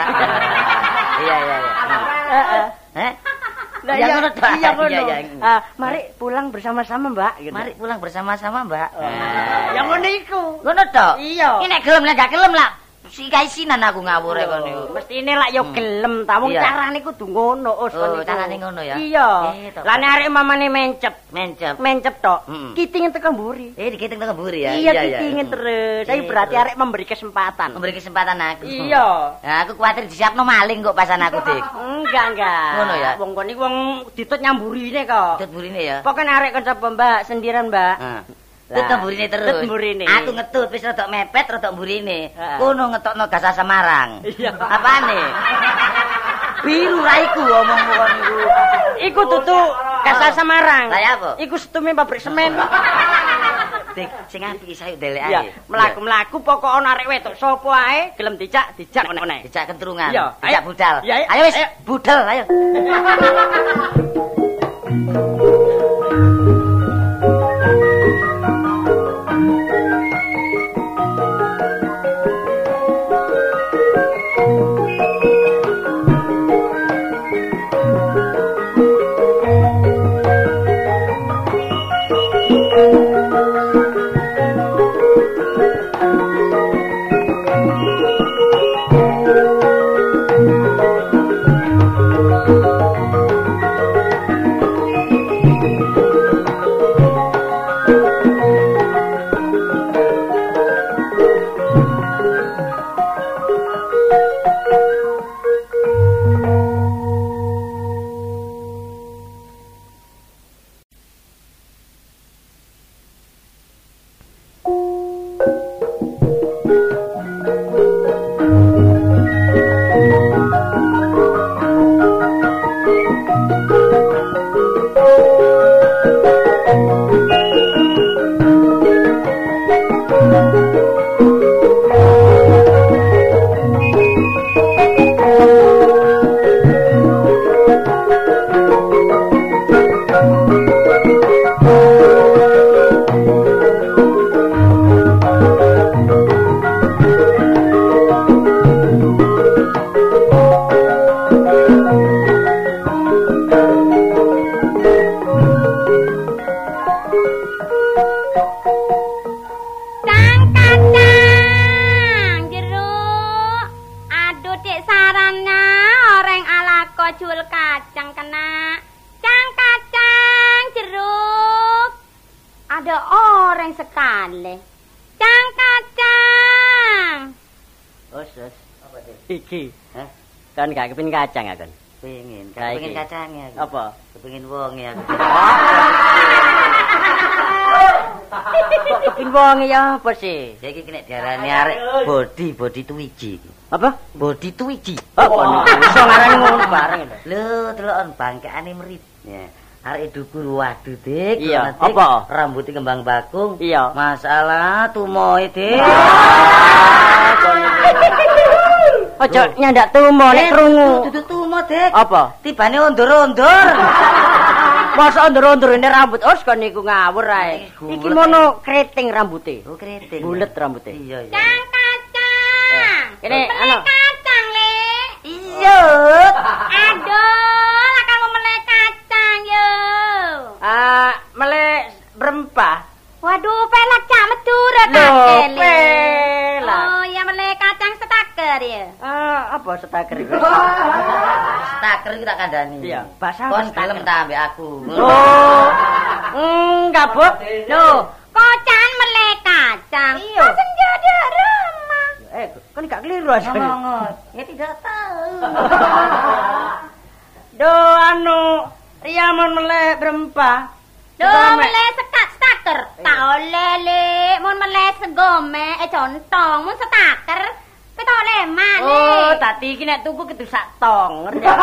Speaker 2: Iya, iya, iya.
Speaker 1: Eh, eh.
Speaker 2: Heh?
Speaker 1: Lah
Speaker 2: Ya
Speaker 1: iya
Speaker 2: ngono ta?
Speaker 1: iya ngono.
Speaker 2: Iya, iya.
Speaker 1: Ah, mari pulang bersama-sama, Mbak. gitu.
Speaker 2: Mari pulang bersama-sama, Mbak.
Speaker 1: Ah, Ya ngono iku.
Speaker 2: Ngono to?
Speaker 1: Iya.
Speaker 2: Ini nek gelem nek gak gelem lah. Si kaisinan aku ngawur kon niku.
Speaker 1: Mestine lak yo gelem ta wong
Speaker 2: Hmm. Iya.
Speaker 1: carane kudu ngono, Us.
Speaker 2: Oh,
Speaker 1: niku.
Speaker 2: carane ngono ya?
Speaker 1: Iya.
Speaker 2: Eh, toh.
Speaker 1: Lah nek arek mamane mencep,
Speaker 2: Mencep.
Speaker 1: mencep tok.
Speaker 2: Mm-mm.
Speaker 1: Kitingen teko mburi.
Speaker 2: Eh, dikiting tengah buri ya.
Speaker 1: Iya, kitingen
Speaker 2: Mm.
Speaker 1: terus. Tapi
Speaker 2: Iya,
Speaker 1: berarti
Speaker 2: terus.
Speaker 1: arek memberi kesempatan.
Speaker 2: Memberi kesempatan aku.
Speaker 1: Iya.
Speaker 2: Nah, aku kuatir disiapno maling kok pasan aku, Dik.
Speaker 1: Enggak, enggak.
Speaker 2: Ngono ya?
Speaker 1: Wong kon iki wong ditut nyamburine kok.
Speaker 2: Tut burine ya.
Speaker 1: Pokoke arek kon sapa, Mbak? Sendiran, Mbak.
Speaker 2: Heeh.
Speaker 1: Lah,
Speaker 2: Tut Ah. mburine terus.
Speaker 1: tut mburine.
Speaker 2: Aku ngetut wis rodok mepet rodok mburine.
Speaker 1: Heeh.
Speaker 2: Kono ngetokno gasa Semarang.
Speaker 1: Iya.
Speaker 2: Apane? Biru raiku omongmu kon niku.
Speaker 1: Iku tutu kasar Semarang.
Speaker 2: Lah, ya apa?
Speaker 1: Iku setume pabrik semen.
Speaker 2: Dik, sing apik sayu delekan.
Speaker 1: Iya, mlaku-mlaku pokok ana arek wedok sapa ae gelem dijak, dijak meneh.
Speaker 2: Dijak kentrungan,
Speaker 1: Iya,
Speaker 2: dijak
Speaker 1: ayo.
Speaker 2: budal.
Speaker 1: Iya, ayo.
Speaker 2: Ayo wis,
Speaker 1: Ayo.
Speaker 2: budal ayo.
Speaker 4: Kang kakang jeruk. Aduh dik sarana oreng ala kojul kacang kena. Kang kacang jeruk. Ada orang sekali. Kang kacang.
Speaker 2: Wes, wes. Apa, Dik?
Speaker 1: Iki,
Speaker 2: Hah?
Speaker 1: kan gak kepin kacang ya, kan.
Speaker 2: Pengen,
Speaker 1: Lah,
Speaker 2: pengen
Speaker 1: iki.
Speaker 2: kacangnya aku.
Speaker 1: Apa?
Speaker 2: Kepengin wong ya.
Speaker 1: Kok kepin wong ya apa sih?
Speaker 2: Ya iki nek diarani arek body body tuwiji.
Speaker 1: Apa?
Speaker 2: Body tuwiji.
Speaker 1: Apa
Speaker 2: oh,
Speaker 1: niku? Iso ngarani ngono bareng lho.
Speaker 2: Lho, delokon bangkaane merit. Ya. Arek dukur waduh, Dik.
Speaker 1: Iya,
Speaker 2: Dik.
Speaker 1: apa?
Speaker 2: Rambutnya kembang bakung.
Speaker 1: Iya.
Speaker 2: Masalah tumoe, Dik.
Speaker 1: Ojo nyandak tumo
Speaker 2: oh,
Speaker 1: nek krungu.
Speaker 2: Duduk tumo, Dik.
Speaker 1: Apa?
Speaker 2: Tibane ondur-ondur.
Speaker 1: Masa ondur-ondur ini rambut us kon niku ngawur ae.
Speaker 2: Gulet.
Speaker 1: Iki mono keriting rambute.
Speaker 2: Oh, keriting.
Speaker 1: Bulet rambutnya.
Speaker 2: Iya, iya.
Speaker 4: Kang kacang.
Speaker 2: Eh,
Speaker 1: Kene
Speaker 4: Melek
Speaker 1: anu.
Speaker 4: kacang, Lek.
Speaker 2: Iya.
Speaker 4: Aduh, lah kamu melek kacang yo.
Speaker 1: Ah, melek berempah.
Speaker 4: Waduh, pelak cak medur
Speaker 1: Loh,
Speaker 4: kakek.
Speaker 1: pelak.
Speaker 4: Oh, ya melek kacang setaker ya.
Speaker 1: Ah, apa setaker iku?
Speaker 2: Staker iki tak kandhani.
Speaker 1: Iya, bahasa apa
Speaker 2: Kon
Speaker 1: staker?
Speaker 2: gelem ta ambek aku.
Speaker 1: Oh. mm, Enggak, Bu. Loh,
Speaker 4: Kocan melek kacang.
Speaker 1: Iya.
Speaker 4: Kocan jadi rumah.
Speaker 1: eh kan gak keliru asane.
Speaker 2: Ngomong. Ya tidak tahu.
Speaker 1: Do anu, iya mon melek berempah.
Speaker 4: Loh, melek sekat setaker. Tak oleh, Lek. Mun melek segome, eh contong, mun setaker. Kita oleh mana?
Speaker 1: Oh, tadi iki nek tuku kudu sak tong, ngerti? ya?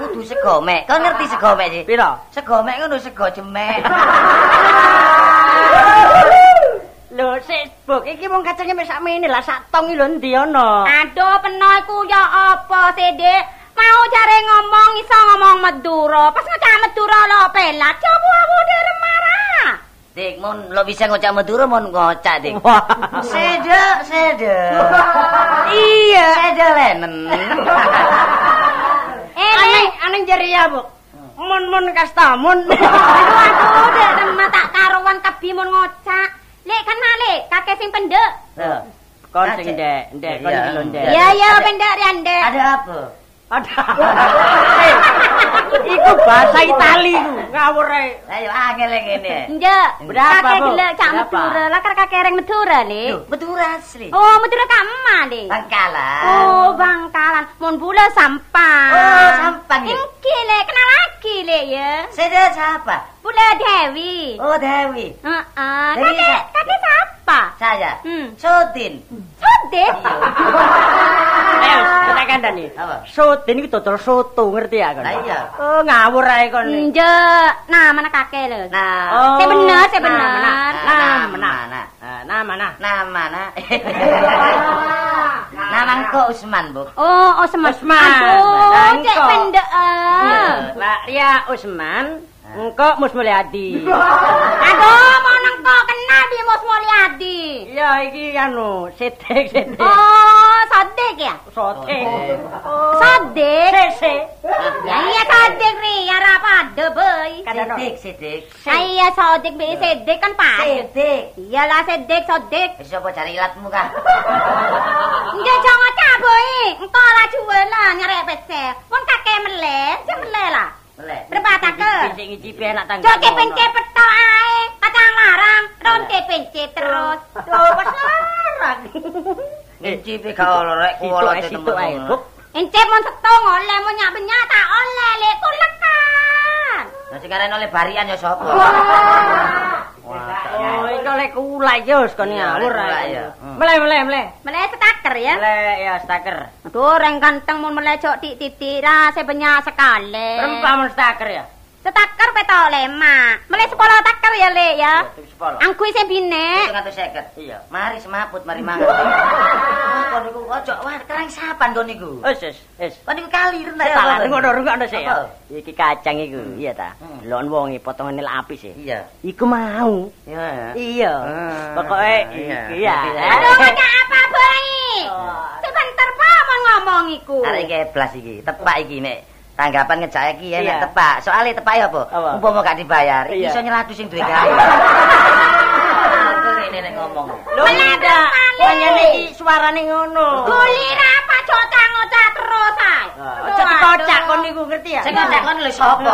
Speaker 2: Kudu segomek. Kon ngerti segomek sih?
Speaker 1: Piro?
Speaker 2: Segomek ngono sego jemek.
Speaker 1: Lho, sik, Buk, iki wong kacangnya mek sakmene lah sak tong iki lho endi ana?
Speaker 4: Aduh, penoiku ya apa sih, Dek? Mau jare ngomong iso ngomong Madura. Pas ngecak Madura lo pelat, coba aku derem marah.
Speaker 2: Dik, mon lo bisa ngocak Madura mon ngocak, Dik.
Speaker 1: Wah.
Speaker 2: Sedo, sedo.
Speaker 1: Iya.
Speaker 2: Sedo lenen.
Speaker 4: Eh, Lek,
Speaker 2: ning jeri ya, Bu.
Speaker 1: Hmm.
Speaker 2: Mun-mun kastamun.
Speaker 4: Aduh, aduh, dek remah tak karuan kebi mun ngocak. Lek kenal lek, kakek sing pendek.
Speaker 1: Loh, Kon sing
Speaker 2: Ajak.
Speaker 1: ndek, ndek kon
Speaker 2: Iya.
Speaker 1: iki lho ndek.
Speaker 4: Iya, iya, pendek ya, Ndek.
Speaker 2: Ada apa?
Speaker 1: Ada. Eh, Iku bahasa Itali ku, ngawur ae.
Speaker 2: Ayo angel ngene.
Speaker 4: Ndek,
Speaker 1: Berapa,
Speaker 4: kakek
Speaker 1: Bu?
Speaker 4: gelek cak
Speaker 1: Berapa?
Speaker 4: Madura, lah kar kakek reng Madura, Lek.
Speaker 2: Duh, betul asli.
Speaker 4: Oh, Madura kak emak, Lek.
Speaker 2: Bangkalan.
Speaker 4: Oh, bangkalan. Mun bula sampan.
Speaker 2: Oh, sampan, Lek.
Speaker 4: Engki, Lek. Kenal lagi, Lek, ya.
Speaker 2: Saya siapa?
Speaker 4: Bula Dewi.
Speaker 2: Oh, Dewi.
Speaker 4: Heeh.
Speaker 2: Dewi,
Speaker 4: Kakek,
Speaker 2: Kak.
Speaker 4: kakek siapa?
Speaker 2: Saya.
Speaker 4: Hmm.
Speaker 2: Sodin.
Speaker 4: Sodeh.
Speaker 1: Ayo, kita kandani.
Speaker 2: Apa?
Speaker 1: Sotin iki dodol soto, ngerti ya kon?
Speaker 2: Lah iya.
Speaker 1: Oh, ngawur ae kon.
Speaker 4: Ndek. Nah, mana kakek, Lek?
Speaker 2: Nah.
Speaker 1: Oh.
Speaker 4: Saya bener, saya
Speaker 1: Nah,
Speaker 4: bener.
Speaker 1: nah,
Speaker 2: Nah,
Speaker 1: Nah,
Speaker 2: nah,
Speaker 1: nah.
Speaker 2: nah.
Speaker 1: Eh, Nah, mana?
Speaker 2: Nama nah. Namangku Usman, Bu.
Speaker 4: Oh, oh semas.
Speaker 1: Osman.
Speaker 4: Aduh,
Speaker 1: Lah,
Speaker 4: cek
Speaker 1: engko.
Speaker 4: pendek. ah.
Speaker 1: Lah, ya Usman,
Speaker 2: Ah.
Speaker 1: engko Mus Mulyadi.
Speaker 4: Aduh, mau nengko kenal di Mus Mulyadi.
Speaker 1: Iya, iki anu, sedek sedek.
Speaker 4: Oh, Sodik ya?
Speaker 1: Soting.
Speaker 2: Oh.
Speaker 1: Oh.
Speaker 4: Sodik?
Speaker 1: Sese.
Speaker 2: Ah.
Speaker 4: Ya iya Sodik ri, ya ra padha, boy.
Speaker 1: Kadang-
Speaker 2: Sidik, sidik.
Speaker 4: Ya iya Sodik beli Sedik kan padha.
Speaker 2: Sidik.
Speaker 4: Iyalah Sedik, Sodik.
Speaker 2: Wis apa Eh, cari ilatmu kah?
Speaker 4: Nggih jangan ngocak, boy. Engko lah juwe lah nyarek pesel. Mun kakek meleh, cek meleh lah.
Speaker 2: Boleh.
Speaker 4: Berpatake.
Speaker 1: Sing ngicipi enak tangga.
Speaker 4: Joki pencet petok ae, kadang larang, ronte pencet terus. Loh, pas larang.
Speaker 2: Ngicipi gak ono rek kuwolo
Speaker 1: Situ ae, situ ae. Buk.
Speaker 4: Encep mon setong oleh mon nyak benyak tak oleh lek kulekan.
Speaker 2: Lah sing arene oleh barian ya sapa?
Speaker 1: Oh, iki oleh kula yo kon
Speaker 2: Iya,
Speaker 1: ngawur
Speaker 2: oleh kulak,
Speaker 1: ae.
Speaker 2: ya. Hmm.
Speaker 1: Mele, mele, mele.
Speaker 4: Melek setaker ya.
Speaker 1: Mele ya staker.
Speaker 4: Aduh, orang ganteng mun melecok titik-titik lah, saya benyak sekali.
Speaker 2: Hmm.
Speaker 1: Rempah mun staker ya.
Speaker 4: Setaker petok oleh mak. Melek sekolah taker ya lek ya.
Speaker 1: Tapi sepolo.
Speaker 4: Angkui saya binek.
Speaker 2: 150.
Speaker 1: Iya.
Speaker 2: Mari semaput, mari mangan. Kon niku ojo wah kerang sapan kon niku.
Speaker 1: Wis, wis, wis.
Speaker 2: Kon niku kali rendah.
Speaker 1: Salah rungokno rungokno sik ya.
Speaker 2: Apa?
Speaker 1: Iki kacang iku, iya ta.
Speaker 2: Hmm.
Speaker 1: Delon wonge potongane lak apik sih.
Speaker 2: Iya.
Speaker 1: e. Iku mau.
Speaker 2: Iya.
Speaker 1: Iya.
Speaker 2: Ah,
Speaker 1: Pokoke
Speaker 2: Hmm. iya.
Speaker 1: iki ya.
Speaker 4: Aduh, ada apa, Boy?
Speaker 2: Oh.
Speaker 4: Sebentar, Pak, mau ngomong iku.
Speaker 2: Arek iki blas iki, tepak iki nek tanggapan ngejak iki ya
Speaker 1: Iya.
Speaker 2: nek tepak. Soale tepak ya apa?
Speaker 1: Apa?
Speaker 2: Umpama gak dibayar,
Speaker 1: Iya.
Speaker 2: iso nyeladu sing duwe gawe. Ngene nek ngomong.
Speaker 1: Lho ndak.
Speaker 4: bersalin.
Speaker 1: Wanyane iki suarane ngono.
Speaker 4: Guli apa cocak ngocak terus ay.
Speaker 2: Oh,
Speaker 1: Aja dikocak kon niku ngerti ya?
Speaker 2: Sing ngajak kon lho sapa?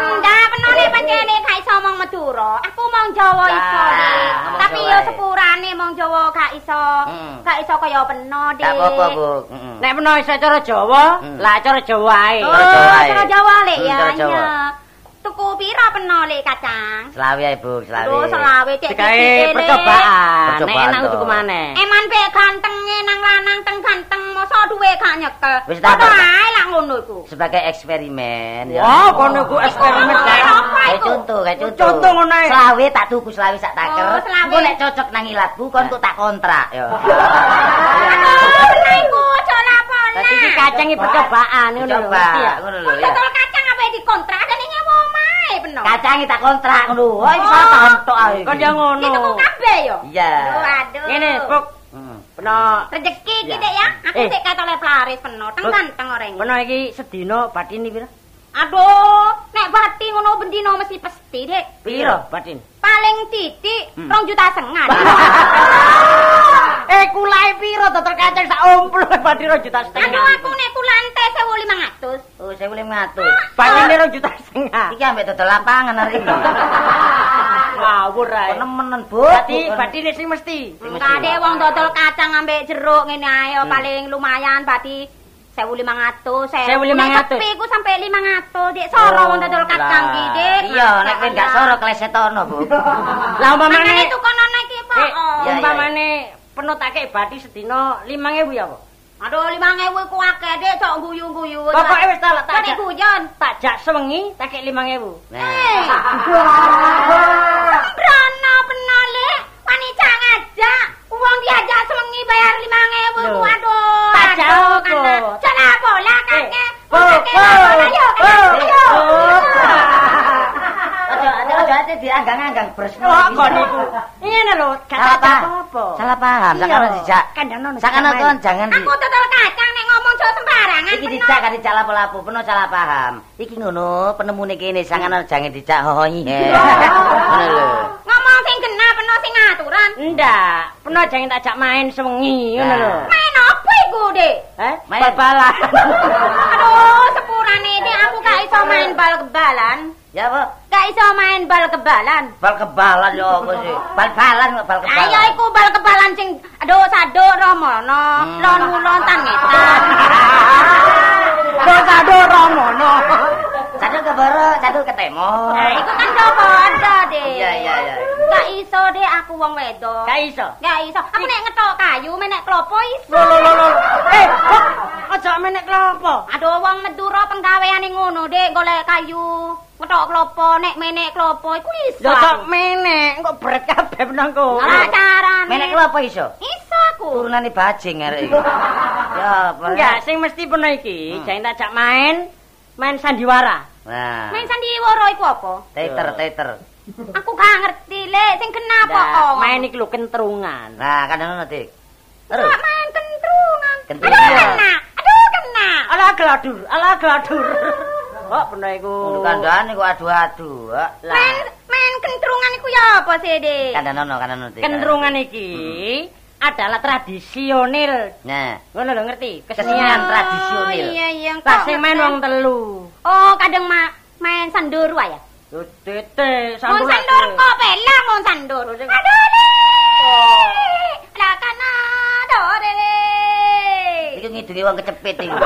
Speaker 4: Enggak, penone pancene gak iso omong Madura. Aku mong Jawa iso.
Speaker 2: Lah,
Speaker 4: Dik.
Speaker 2: ngomong
Speaker 4: Tapi
Speaker 2: Jawa
Speaker 4: yo
Speaker 2: ae.
Speaker 4: sepurane mong Jawa gak iso.
Speaker 2: Hmm.
Speaker 4: Gak iso kaya peno, Dik. Oh,
Speaker 2: Tak apa-apa, Bu. Heeh.
Speaker 1: Nek menawa iso cara Jawa,
Speaker 2: Hmm.
Speaker 1: lah cara Jawa ae.
Speaker 4: Oh,
Speaker 2: Cara Jawa ae.
Speaker 4: cara Jawa lek
Speaker 2: Hmm,
Speaker 4: ya.
Speaker 2: cara Jawa.
Speaker 4: iya. Tuku pira peno lek kacang?
Speaker 2: Selawe ae, Bu, selawe.
Speaker 4: Terus selawe cek
Speaker 1: Dikae
Speaker 4: titik, Dik.
Speaker 1: percobaan. Nek
Speaker 2: Percobaan,
Speaker 1: enak
Speaker 2: toh.
Speaker 1: tuku maneh.
Speaker 4: Eman pe gantenge nang lanang teng ganteng mosok duwe gak nyekel.
Speaker 2: Wis tak
Speaker 4: Padha
Speaker 2: apa.
Speaker 4: ae lah ngono iku.
Speaker 2: Sebagai eksperimen
Speaker 1: Wah, kon niku Oh, eksperimen
Speaker 4: Oh,
Speaker 1: kae.
Speaker 4: apa
Speaker 2: Kayak
Speaker 4: iku?
Speaker 2: contoh, kayak contoh.
Speaker 1: Contoh ngono ae.
Speaker 2: Selawe tak tuku selawe sak taker.
Speaker 4: Oh, selawe.
Speaker 2: Engko nek cocok nang ilatku kon kok tak kontrak ya.
Speaker 4: Aduh, peno iku aja laporan.
Speaker 1: Dadi iki kacang iki percobaan ngono lho.
Speaker 2: Coba,
Speaker 1: ngerti ya?
Speaker 2: ngono lho
Speaker 4: Kok
Speaker 2: ya.
Speaker 4: total kacang apa dikontrak ada ning nyewa omahe peno.
Speaker 2: Kacangi tak kontrak ngono. Oh, iki salah tontok ae.
Speaker 1: Kon ya ngono.
Speaker 4: Dituku kabeh yo.
Speaker 2: Iya.
Speaker 4: Aduh, aduh.
Speaker 1: Ngene, Puk.
Speaker 2: Hmm.
Speaker 1: Peno
Speaker 4: Rezeki iki
Speaker 1: Iya.
Speaker 4: Dek ya. Aku
Speaker 1: Eh.
Speaker 4: sik katole pelaris peno, teng
Speaker 1: Puk.
Speaker 4: ganteng oreng.
Speaker 1: Peno iki sedina batin iki pira?
Speaker 4: Aduh, nek bati ngono bendino mesti pesti, Dek.
Speaker 1: Pira batin?
Speaker 4: Paling titik
Speaker 1: Hmm.
Speaker 4: 2 juta setengah.
Speaker 1: Eh kulae pira dodol kacang sak omplo batin 2 juta
Speaker 4: Aduh,
Speaker 1: setengah.
Speaker 4: aku nek kulante 1500.
Speaker 2: Oh, 1500.
Speaker 1: Batine 2 juta setengah.
Speaker 2: Iki ambek dodol lapangan hari ini.
Speaker 1: Ngawur ae.
Speaker 2: Kok nemenan, Bu.
Speaker 1: Berarti
Speaker 2: Kon-
Speaker 1: batine sing mesti.
Speaker 4: Enggak deh wong dodol kacang ambek jeruk ngene
Speaker 2: Hmm.
Speaker 4: ae yo, paling lumayan bati 1500.
Speaker 1: 1500.
Speaker 4: Tapi iku sampe 500, Dik. Soro
Speaker 1: Oh,
Speaker 4: wong dodol kacang
Speaker 1: lah.
Speaker 4: iki, Dik.
Speaker 2: Iya, nek kowe gak soro klesetono, Bu.
Speaker 1: Lah
Speaker 4: Makane
Speaker 1: umpamane
Speaker 4: tukonan iki Oh. po.
Speaker 1: Eh,
Speaker 2: Iya, iya.
Speaker 1: umpamane peno tak kei bati sedina 5000 ya kok.
Speaker 4: Aduh 5000 iku akeh, Dik. Sok guyu-guyu.
Speaker 2: eh,
Speaker 1: Pokoke wis tak tak
Speaker 4: tak
Speaker 1: jak-
Speaker 4: guyon.
Speaker 1: tak jak sewengi tak kei 5000.
Speaker 2: Nah,
Speaker 4: Eh. Sembrono penole, wanita ngajak. Uang diajak semengi bayar 5000 ku
Speaker 1: Loh.
Speaker 4: aduh.
Speaker 1: Tak jauh, Bu.
Speaker 4: Jalan bola
Speaker 1: Eh,
Speaker 4: kakek.
Speaker 1: Bu, Bu,
Speaker 4: Ayo, kakek,
Speaker 1: Bu,
Speaker 4: ayo.
Speaker 2: Ojo, ojo, ojo ati dianggang-anggang bresno.
Speaker 1: Oh, Kok kon niku. Ngene lho, gak
Speaker 2: Salah
Speaker 1: ada
Speaker 2: paham.
Speaker 1: apa-apa.
Speaker 2: Salah paham, sakana dijak.
Speaker 1: Kan ana
Speaker 2: Sakana kon jangan di
Speaker 4: Aku total kacang nek ngomong konco sembarangan.
Speaker 2: Iki dijak kan dijak lapo-lapo, peno salah paham. Iki ngono, penemune kene sangan jange dijak hoyi. Ngono lho.
Speaker 4: Ngomong sing genah peno sing aturan.
Speaker 1: Ndak, peno jangan takjak main sewengi ngono lho.
Speaker 2: Nah.
Speaker 4: Main apa iku, Dik?
Speaker 1: Eh,
Speaker 2: Main.
Speaker 1: bal-balan.
Speaker 4: Aduh, sepurane Dik aku gak iso main bal kebalan.
Speaker 2: Ya apa?
Speaker 4: Gak iso main bal kebalan.
Speaker 2: Bal kebalan ya apa sih? Bal-balan kok bal kebalan.
Speaker 4: Ayo iku bal kebalan sing aduh sado romono,
Speaker 2: Ah.
Speaker 4: lon ulon tangetan.
Speaker 1: Sado romono.
Speaker 2: Satu keboro, satu ketemu.
Speaker 4: Nah, Eh, iku kan do padha, Dik.
Speaker 2: Iya, iya, iya.
Speaker 4: Gak iso, Dik, aku wong wedok.
Speaker 1: Gak iso.
Speaker 4: Gak iso. Aku nek ngetok kayu, menek klopo iso.
Speaker 1: Lho lho lho lho. Eh, kok aja menek klopo.
Speaker 4: Aduh wong Madura penggaweane ngono, Dik, golek kayu, ngetok klopo, nek menek klopo iku iso.
Speaker 1: Ya kok
Speaker 4: aku.
Speaker 1: menek, kok berat kabeh menang kok.
Speaker 4: Lah carane.
Speaker 2: Menek lho apa iso?
Speaker 4: Iso aku.
Speaker 2: Turunane bajing arek iki. Ya apa?
Speaker 1: Enggak, sing mesti peno iki,
Speaker 2: Hmm.
Speaker 1: jangan takjak main main sandiwara.
Speaker 2: Nah.
Speaker 4: Main sandiwara iku apa?
Speaker 2: Teter, teter.
Speaker 4: Aku gak ngerti, Lek, sing kenapa
Speaker 1: Ndak,
Speaker 4: kok.
Speaker 1: main iki lho kentrungan.
Speaker 2: Nah, kan ngono, Dik. Terus.
Speaker 4: Kok main kentrungan.
Speaker 2: Kentrungan.
Speaker 4: Aduh kena. Aduh kena.
Speaker 1: Ala gladur, ala gladur. Kok peno iku.
Speaker 2: Untuk kandhane kok adu-adu. ah.
Speaker 4: Main main kentrungan iku ya apa sih, Dik?
Speaker 2: Kandhanono, kandhanono, Dik.
Speaker 1: Kentrungan iki
Speaker 4: Hmm.
Speaker 1: adalah tradisional.
Speaker 2: Nah.
Speaker 1: Ngono lho ngerti,
Speaker 2: Kesenian
Speaker 1: kesenian.
Speaker 2: tradisional.
Speaker 4: Oh, Iya, iya.
Speaker 1: Lah
Speaker 4: kok
Speaker 1: sing main
Speaker 4: ngerti.
Speaker 1: wong telu.
Speaker 4: Oh, kadang ma- main sanduru ya.
Speaker 1: Yo tete
Speaker 4: Mon
Speaker 1: sampul.
Speaker 4: sandur kok pelak mon sandur. Aduh. Dik.
Speaker 1: Oh.
Speaker 4: Lah kana dore.
Speaker 2: Iki ngidungi wong kecepit iki.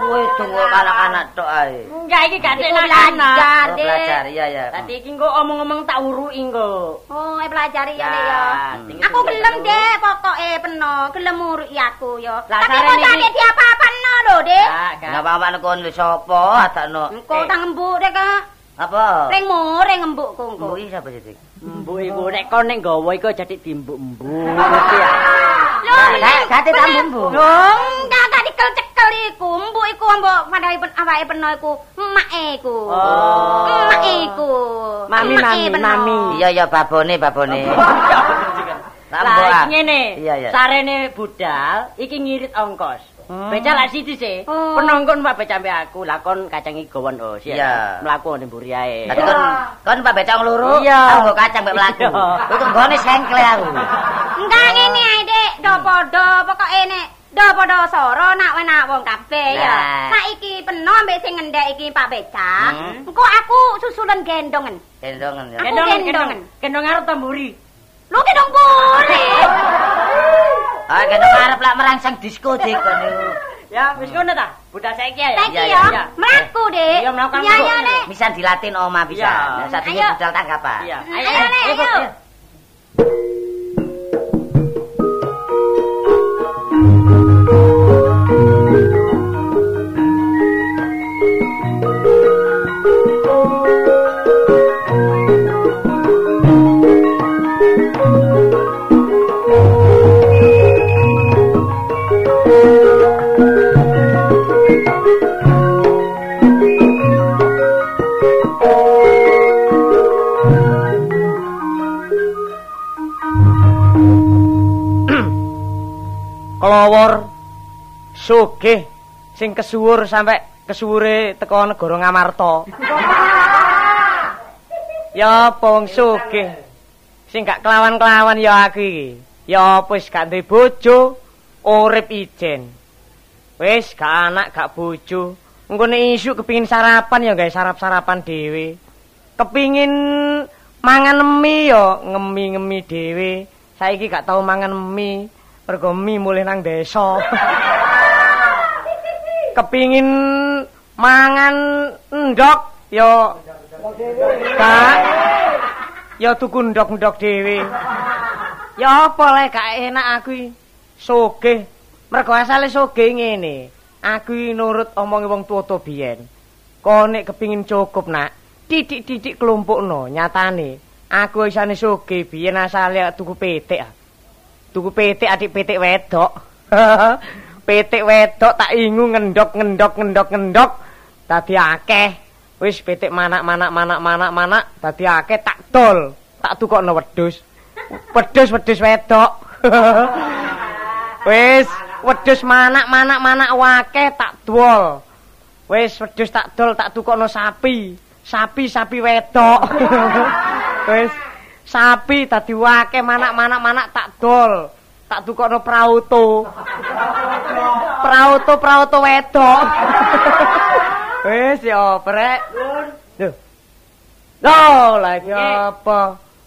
Speaker 2: Kowe tunggu anak-anak tok ae.
Speaker 1: Enggak iki gak
Speaker 4: Iku
Speaker 1: enak
Speaker 4: belajar,
Speaker 2: Oh, belajar,
Speaker 4: Dik.
Speaker 2: iya ya.
Speaker 1: Tadi iki engko omong-omong tak urui engko.
Speaker 4: Oh, eh, pelajari ya,
Speaker 1: Ya,
Speaker 4: Dik ya.
Speaker 1: tinggi
Speaker 4: Aku
Speaker 1: tinggi
Speaker 4: gelem
Speaker 1: terus.
Speaker 4: Dek, pokoke peno, gelem ngurui aku ya.
Speaker 1: Lah,
Speaker 4: Tapi
Speaker 1: sarane
Speaker 4: kok tak
Speaker 1: iki-
Speaker 4: diapa-apano lho, Dik.
Speaker 1: Gak, gak.
Speaker 2: Enggak apa-apa nek kon sapa atakno.
Speaker 4: Engko
Speaker 1: Eh.
Speaker 4: tak ngembuk Dek kok.
Speaker 2: Apa?
Speaker 4: Ring muring ngembukku engko.
Speaker 2: Kuwi sapa sih, Dik?
Speaker 1: Mbok iku nek kon ning nggawa iku jadi dimbuk-mbuk ngerti ya.
Speaker 4: Lho,
Speaker 2: Gak- gak ditambung, Bu.
Speaker 4: Dong, gak Oh, gak dikel-cekel iku. Mbok iku mbok padhae pen awake peno iku, emak iku.
Speaker 1: Oh.
Speaker 4: Emak iku.
Speaker 1: Mami,
Speaker 4: Emak
Speaker 1: mami,
Speaker 4: peno.
Speaker 1: mami.
Speaker 2: Iya ya babone, babone. Tak
Speaker 1: Lah
Speaker 2: mbok, ah.
Speaker 1: iki ngene.
Speaker 2: Iya ya.
Speaker 1: Sarene budal iki ngirit ongkos.
Speaker 2: Hmm.
Speaker 1: Becak lak siji sih.
Speaker 4: Oh.
Speaker 1: Penonton mbak becak mbek aku lah kon kacangi gowon oh sih.
Speaker 2: Iya.
Speaker 1: Mlaku ning mburi ae.
Speaker 2: Tadi kon kon Pak Becak ngluru,
Speaker 1: Iya.
Speaker 2: aku nggo kacang mbek mlaku.
Speaker 1: Iya.
Speaker 2: Kuwi tunggone sengkle aku.
Speaker 4: Enggak ngene ae, Dik. Do padha pokoke nek do padha soro nak wenak wong kabeh ya.
Speaker 2: Nah.
Speaker 4: Saiki peno mbek sing ngendhek iki Pak Becak.
Speaker 2: Hmm.
Speaker 4: Engko aku susulan gendongen.
Speaker 2: Gendongan ya.
Speaker 4: Aku
Speaker 1: Gendong, gendong.
Speaker 4: gendongan.
Speaker 1: Gendong arep ta mburi.
Speaker 4: Lu gendong puri.
Speaker 2: Ah, gendong arep lak merangsang disko Dik kon niku.
Speaker 1: Ya wis ngono ta. Budal saiki ya.
Speaker 4: Saiki
Speaker 2: Iya,
Speaker 4: ya,
Speaker 1: Eh, iya.
Speaker 4: melaku, Dik.
Speaker 1: Iya, melaku,
Speaker 4: Iya, iya,
Speaker 1: melaku.
Speaker 4: Dik.
Speaker 2: Bisa dilatin oma bisa.
Speaker 1: Iya.
Speaker 2: Nah, Satunya
Speaker 4: Ayo.
Speaker 2: budal tangkapan.
Speaker 1: Iya.
Speaker 4: Ayo, Nek,
Speaker 1: ikut,
Speaker 4: ayo.
Speaker 5: kelawur sugih sing kesuwur sampe kesuwure teko negara Ngamarta. ya apa wong sugih sing gak kelawan-kelawan ya aku iki. Ya apa wis gak duwe bojo, urip ijen. Wis gak anak gak bojo. Engkone isuk kepingin sarapan ya gawe sarap-sarapan dhewe. Kepingin mangan mie ya ngemi-ngemi dhewe. Saiki gak tau mangan mie. Mergo mie mulih nang desa. Kepingin mangan endok ya Pak. Ya tuku ndok-ndok dhewe. Ya apa le gak enak aku iki. Sugih. Mergo asale sugih ngene. Aku iki nurut omongi wong tuwa-tuwa biyen. Kon nek kepingin cukup, Nak, titik-titik kelompokno nyatane. Aku isane sugih biyen asale tuku petik. ah. Tuku petik adik petik wedok. petik wedok tak ingu ngendok ngendok ngendok ngendok dadi akeh. Wis petik manak-manak manak-manak manak dadi akeh tak dol. Tak tukokno wedhus. Wedhus wedhus wedok. Wis Wedhus manak-manak-manak wake tak duol. Wis wedhus tak dol tak tukokno sapi. Sapi sapi wedok. Wis sapi dadi wake manak-manak-manak tak dol. Tak tukokno prauto. Prauto prauto wedok. Wis ya prek. Lho. Lho,
Speaker 1: Eh.
Speaker 5: lagi apa?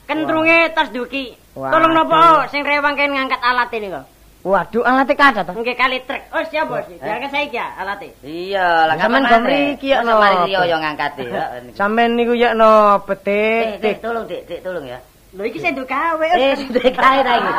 Speaker 1: Kentrunge tas duki.
Speaker 5: Wah.
Speaker 1: Tolong nopo sing rewang kene ngangkat alate niku.
Speaker 5: Waduh, alate kada to.
Speaker 1: Nggih kali trek. Oh, siap, Bos.
Speaker 5: eh.
Speaker 1: Jangan saiki ya alate.
Speaker 2: Iya, lah
Speaker 5: Sampean
Speaker 2: kapan
Speaker 5: gak mriki, ya,
Speaker 2: Masa
Speaker 5: no.
Speaker 2: mari Rio yo e. ngangkati ya.
Speaker 5: Sampeyan niku yakno
Speaker 2: Dik,
Speaker 5: betik.
Speaker 2: dik
Speaker 5: tik.
Speaker 2: tolong dik, dik tolong ya.
Speaker 1: Lho iki sendok gawe.
Speaker 2: Eh, sudah kae ta iki.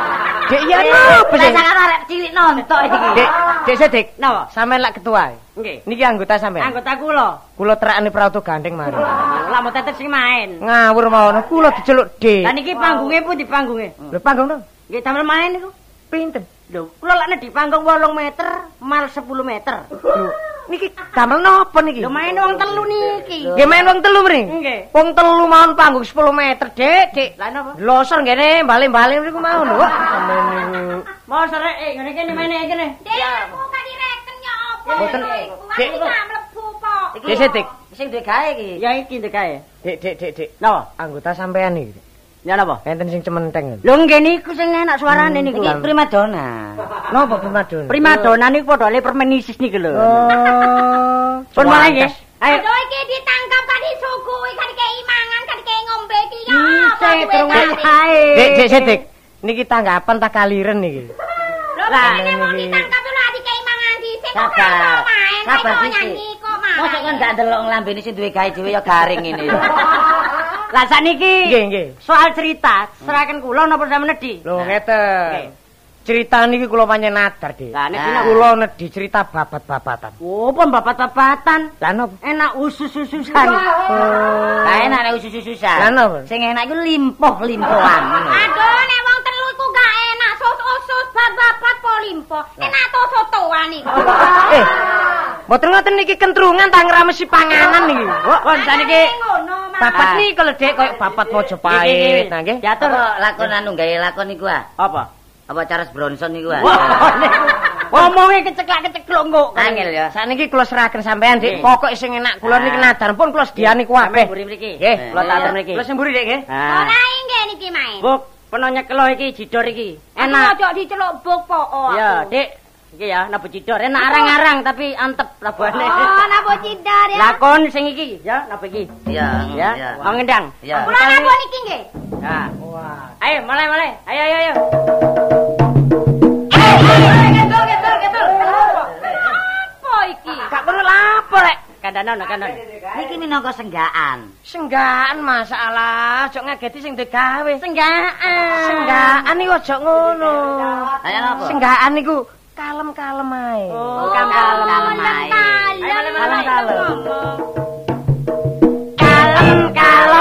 Speaker 5: Dek ya
Speaker 2: Eh,
Speaker 5: napa
Speaker 2: Lah
Speaker 5: sih?
Speaker 2: sangat arek cilik nonton iki.
Speaker 5: Dek, dek sedik.
Speaker 1: Napa?
Speaker 5: Sampeyan lak ketua.
Speaker 1: Nggih.
Speaker 5: Niki anggota sampeyan.
Speaker 1: Anggota kula.
Speaker 5: Kula terakne prauto gandeng mari.
Speaker 1: Lah mau Ah, tetes sing main.
Speaker 5: Ngawur mawon kula diceluk Dik.
Speaker 1: Lah niki panggunge pundi panggunge?
Speaker 5: Lho panggung to.
Speaker 1: Nggih damel main niku.
Speaker 5: Pinten?
Speaker 1: Lho, kula lakne di panggung 8 meter mal 10 meter.
Speaker 5: Lho, niki damel napa niki?
Speaker 1: Lho main wong telu niki.
Speaker 5: Nggih main wong telu mri.
Speaker 1: Nggih.
Speaker 5: Wong telu mawon panggung 10 meter, Dik, Dik.
Speaker 1: Lah napa?
Speaker 5: Losor ngene bali-bali mriku mawon lho. Sampeyan niku
Speaker 1: Mau serek eh ngene kene maine kene.
Speaker 4: Dek, aku kali reken ya apa
Speaker 5: Boten.
Speaker 4: lho iku.
Speaker 5: Dek.
Speaker 4: Aku gak mlebu kok.
Speaker 2: Iki
Speaker 5: Dek, sedik.
Speaker 2: Sing duwe gawe iki.
Speaker 1: Ya iki ndek kae.
Speaker 5: Dik, Dik, Dik, Dik.
Speaker 1: Napa?
Speaker 5: Anggota sampeyan niki.
Speaker 1: Ya napa?
Speaker 5: Enten sing cementeng.
Speaker 1: Lho nggih niku sing enak suarane
Speaker 5: Hmm,
Speaker 1: niku.
Speaker 2: Iki primadona.
Speaker 5: Napa primadona?
Speaker 1: Primadona niku padha le permenisis niku lho.
Speaker 5: Oh.
Speaker 1: Pun malah nggih. Ayo.
Speaker 4: Aduh iki ditangkap kan disugui kan dikei mangan kan dikei ngombe iki ya apa
Speaker 1: Cek
Speaker 4: duwe
Speaker 1: durung
Speaker 4: kali.
Speaker 1: kae.
Speaker 5: Dik, Dik, Dik. Niki tanggapan tak kaliren niki.
Speaker 4: Lho
Speaker 1: Lah,
Speaker 4: kene wong
Speaker 5: ini-
Speaker 4: ditangkap lho dikei mangan dhisik kok
Speaker 2: Sabar.
Speaker 4: malah main.
Speaker 2: Sabar,
Speaker 4: Kok
Speaker 2: Siti.
Speaker 4: nyanyi kok main.
Speaker 2: Mosok kon gak ndelok nglambene sing duwe gawe dhewe ya garing ngene.
Speaker 1: Lah saniki
Speaker 5: Nggih, nggih.
Speaker 1: soal cerita serakan kula napa sampeyan nedhi?
Speaker 5: Lho
Speaker 2: Nah.
Speaker 5: ngeten. Cerita niki kula panjen nadar, Dik.
Speaker 1: Lah nek
Speaker 2: Nah.
Speaker 5: Kula nedhi cerita babat-babatan.
Speaker 1: Oh, pun babat-babatan.
Speaker 5: Lah napa?
Speaker 1: Enak usus-ususan.
Speaker 2: Lah enak nek usus-ususan.
Speaker 5: Lah napa?
Speaker 2: Sing enak iku limpoh-limpohan ngono.
Speaker 4: Aduh, nek wong telu iku gak enak sus-usus babat polimpo. Enak to sotoan iku.
Speaker 5: Eh, mboten ngoten niki kentrungan tak ngramesi panganan niki. Wah,
Speaker 1: Kon saniki
Speaker 4: Ini ngono, Mas.
Speaker 5: Babat
Speaker 2: Ah.
Speaker 5: niki lho, Dik, koyo babat Mojopahit. Nah, nggih.
Speaker 2: Diatur lakon anu gawe lakon iku ah.
Speaker 1: apa?
Speaker 2: Apa Charles Bronson iku ah.
Speaker 1: Omongnya keceklak-kecekluk engko.
Speaker 2: Angel ya.
Speaker 5: Sakniki kula serahkan sampean, Dik.
Speaker 2: Nggih.
Speaker 5: Pokok sing enak kula niki
Speaker 2: Ah.
Speaker 5: nadar pun kula sediyani kuwabe.
Speaker 2: mburi mriki.
Speaker 5: Nggih,
Speaker 2: Eh,
Speaker 5: kula tatur
Speaker 2: iya.
Speaker 5: mriki. Kula semburi, Dik, nggih.
Speaker 2: Ah.
Speaker 4: Ora inggih niki main.
Speaker 1: Buk, penonya kelo iki jidor iki.
Speaker 4: Enak.
Speaker 1: Enak.
Speaker 4: Ojo diceluk buk po aku.
Speaker 1: Ya, Dik. Iki ya, napa jidor enak arang-arang tapi antep labane.
Speaker 4: Oh, napa cidar ya?
Speaker 1: Lakon sing iki ya, napa iki?
Speaker 2: Iya, iya.
Speaker 1: Ya, mau ngendang.
Speaker 2: Iya.
Speaker 4: Kula napa niki nggih?
Speaker 1: Nah. Ayo, mulai-mulai. Ayo, ayo, ayo.
Speaker 4: Apa iki?
Speaker 1: Gak perlu lapor, rek. Kandanan, kandanan.
Speaker 2: Niki minangka senggaan.
Speaker 5: Senggaan masalah, ojo ngageti sing duwe gawe.
Speaker 1: Senggaan.
Speaker 5: Senggaan iku ojo ngono.
Speaker 2: Ayo napa?
Speaker 5: Senggaan niku kalem-kalem ae.
Speaker 1: Oh, kampal.
Speaker 2: kalem ae.
Speaker 5: Kalem-kalem.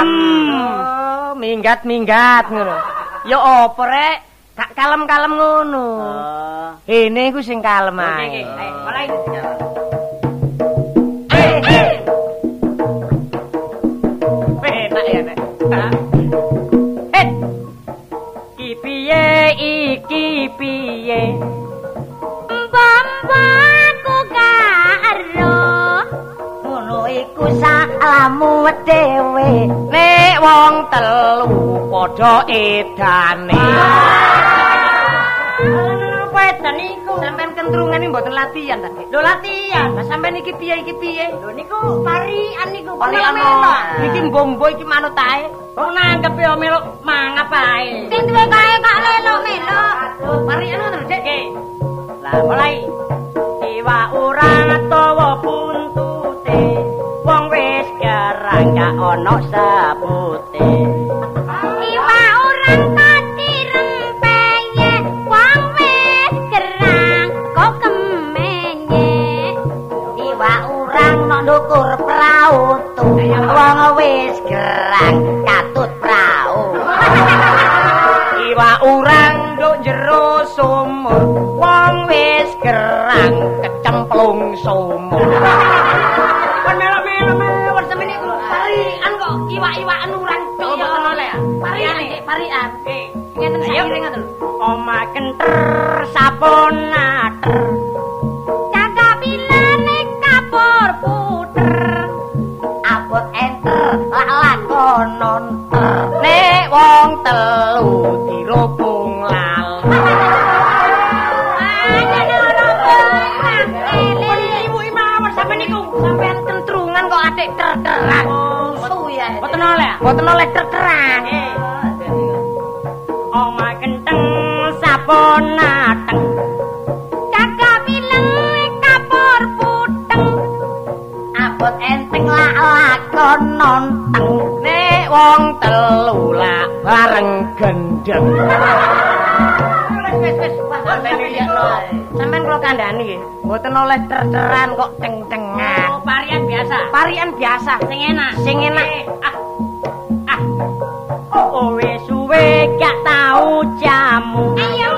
Speaker 5: Oh, minggat-minggat ngono. Ya apa rek? Gak kalem-kalem ngono.
Speaker 1: Oh.
Speaker 5: Ini iku sing kalem
Speaker 1: Oke,
Speaker 5: ae. Eh,
Speaker 1: oke. Ayo, mulai.
Speaker 5: eh, Penak ya nek.
Speaker 1: Eh. Iki piye iki piye?
Speaker 4: Mbambaku karo
Speaker 2: Ngono iku salamu dhewe.
Speaker 5: Nek wong telu padha edane.
Speaker 1: Apa edan iku?
Speaker 5: Sampeyan kentrungan iki mboten latihan ta, Dik?
Speaker 1: Lho latihan.
Speaker 5: Lah sampeyan iki piye iki piye?
Speaker 1: Lho niku parian niku.
Speaker 5: Oli
Speaker 1: Parian. oh.
Speaker 5: ana. Iki mbombo iki manut ae.
Speaker 1: Wong nanggep ya melok mangap ae.
Speaker 4: sing duwe kae kok lelok melok.
Speaker 1: Parian ngono Dek. Oke. Lah mulai. Dewa ora tawa puntute. Wong wis garang gak ono sapute.
Speaker 4: Iwa orang tadi rempeye Wang wis gerang kok kemenye
Speaker 2: Iwak urang nok ndukur prau tuh. Wong wis gerang katut prau.
Speaker 5: Iwa urang nduk jero sumur, wong wis gerang kecemplung sumur.
Speaker 1: Kon melok-melok mawon semene iku. Parian kok iwak-iwakan urang tok ya ono le. Parian iki parian. Ngeten sakire ngoten. Oma kenter sapon
Speaker 4: Cagak bilane kapur puter.
Speaker 2: Abot enter lak lakonon ter. Nek wong telu dirubung lal.
Speaker 4: Ayo nyono kowe
Speaker 1: Ibu imam sampe niku sampean tentrungan kok atik ter-teran.
Speaker 2: ya.
Speaker 1: Boten oleh.
Speaker 2: Boten oleh terkeran.
Speaker 1: Oma kenteng sapon ateng.
Speaker 4: Cagak bilane kapur puteng.
Speaker 2: Abot enteng lak lakonon teng. Nek wong telu lak bareng gendeng.
Speaker 1: Wis wis wis.
Speaker 2: Sampeyan kula kandhani nggih, boten oleh terceran kok ceng-cengan.
Speaker 1: Oh, varian biasa.
Speaker 2: Parian biasa.
Speaker 1: Sing enak.
Speaker 2: Sing enak.
Speaker 1: Ah. Ah. Oh, wis suwe gak tau jamu.
Speaker 4: Ayo.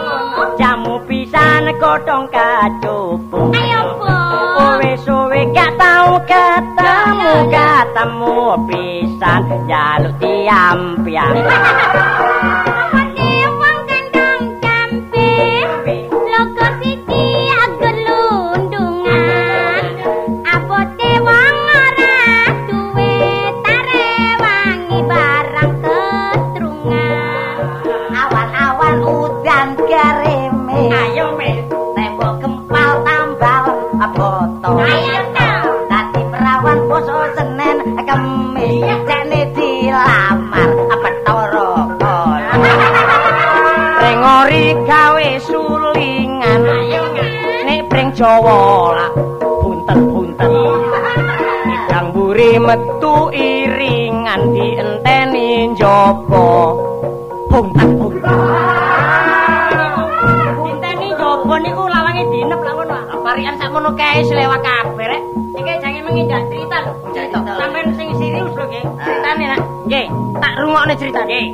Speaker 1: Jamu pisan godhong kacupu.
Speaker 4: Ayo, Bu.
Speaker 1: Wis suwe gak tau ketemu ketemu pisan jaluk tiang-piang.
Speaker 4: Wani wong kandang campe. Logo siti agelundungan. Abote wong ora duwe tare wangi barang ketrungan.
Speaker 2: Awan-awan udan gareme.
Speaker 1: Ayo wis.
Speaker 2: Tembok kempal tambal botol.
Speaker 4: Ayo, Tau.
Speaker 2: Tadi perawan poso Senin Kemis. Jane dilamar Bathara Kala. Pring ori gawe sulingan. Nek pring Jawa lak punten-punten. Idang buri metu iringan dienteni njaba. Punten-punten.
Speaker 1: Dinteni jopo niku lawange dinep lah ngono. Varian sakmono kae selewa kabeh rek. Iki jange menginjak cerita lho.
Speaker 2: Cerita. Ah.
Speaker 1: Sampeyan sing serius lho nggih. Ceritane nak. Nggih.
Speaker 2: Tak rungokne ceritane.
Speaker 1: Nggih.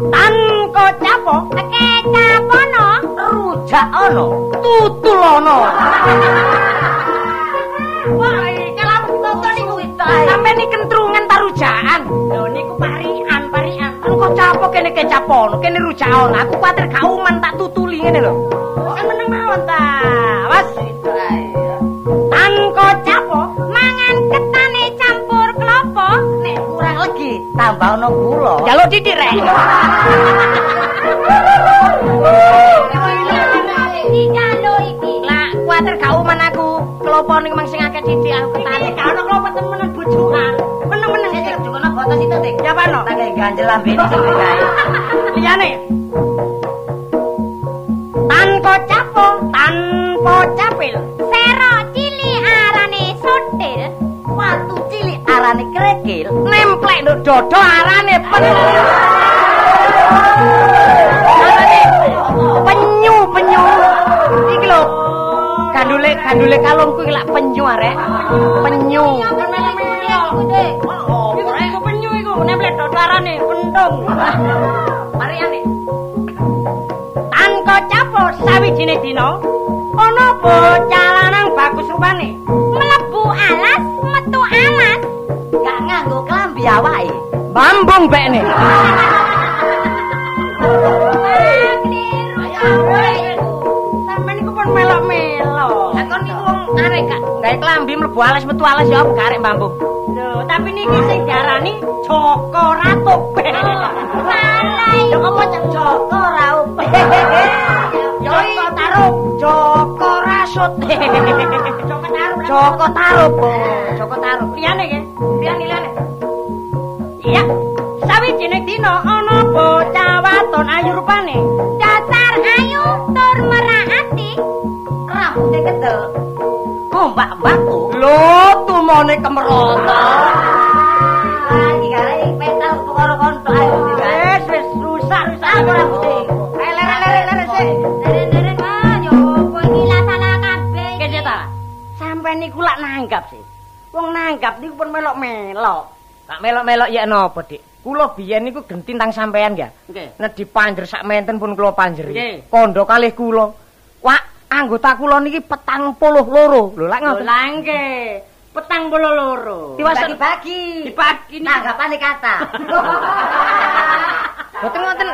Speaker 2: Tan kocapo
Speaker 4: Oke, kapono?
Speaker 2: rujak ana, tutul ana.
Speaker 1: Wah, kalau toto niku
Speaker 2: Sampe ni kentrungan ta rujakan.
Speaker 1: lho niku parian, parian.
Speaker 2: Tan kocapo kene kecap ana, kene rujak ana. Aku kuwatir gak uman tak tutuli ngene lho.
Speaker 1: Seneng mawon ta.
Speaker 2: Awas. Tan kocapo
Speaker 4: Mangan ketane campur klopo.
Speaker 2: nek kurang legi tambah ana gula.
Speaker 1: Jaluk didik rek.
Speaker 4: Iki kalo iki.
Speaker 1: Lah, kuwatir gak uman aku. Klopo ning mang sing akeh didik aku ketane. Gak ono klopo temenan bojokan. Meneng-meneng sing
Speaker 2: Dukono botos itu, Dik.
Speaker 1: Siapa no?
Speaker 2: Tak kayak ganjel lambene sing kae.
Speaker 1: liyane tanpa capo tanpa capil
Speaker 4: Sero cili arane sotil.
Speaker 2: Watu cilik arane krekil.
Speaker 1: nemplek nduk dodo arane penyu Arane penyu penyu iki lho gandule gandule kalungku iki lak penyu arek penyu Iku iku penyu iku nemplek dodo arane pentung mari ane tanpa capo sawijine dina ana bocah lanang bagus rupane
Speaker 4: Mlebu alas, metu alas.
Speaker 2: Gak nganggo klambi awake.
Speaker 1: Bambung bekne. Sampeyan niku pun melok-melok.
Speaker 2: Lah kon niku wong arek gak
Speaker 1: Gawe klambi mlebu alas metu alas ya apa arek bambung. Lho, tapi niki sing diarani Joko Ratope.
Speaker 4: Salah
Speaker 1: Lho kok macam Joko
Speaker 2: ora opo.
Speaker 1: Yo Joko Tarub, Joko Rasut. Joko Tarub.
Speaker 2: Joko Tarub. Joko Tarub.
Speaker 1: liyane nggih. Liyane liyane. Iya. Sawijining dina ana bocah waton ayu rupane.
Speaker 4: dasar ayu tur meraati.
Speaker 2: Rambute kedel. Ombak-ombakku.
Speaker 1: Lho, tumone kemerotot.
Speaker 2: Lagi gara iki petal perkara kontok ayo digawe.
Speaker 1: Wis wis rusak rusak
Speaker 2: Aku
Speaker 1: ora
Speaker 2: rambuté.
Speaker 1: Eh lere lere lere sik.
Speaker 4: Dereng-dereng ah yo opo iki lah salah kabeh. iki.
Speaker 1: Kece ta? Sampai niku lak nanggap sih. Wong nanggap niku pun melok-melok.
Speaker 5: Tak melok-melok ya napa, Dik? Kula biyen niku genti tang sampean ya.
Speaker 1: Nggih.
Speaker 5: Nek dipanjer sak menten pun kula panjeri.
Speaker 1: Nggih.
Speaker 5: Kondo kalih kula. Wak, anggota kula niki petang puluh loro. Lho lak ngoten.
Speaker 1: Langke. Petang puluh loro.
Speaker 5: Diwasan
Speaker 2: Dibagi-bagi.
Speaker 1: Dipagi niku.
Speaker 2: Nanggapane kata.
Speaker 5: boten ngoten.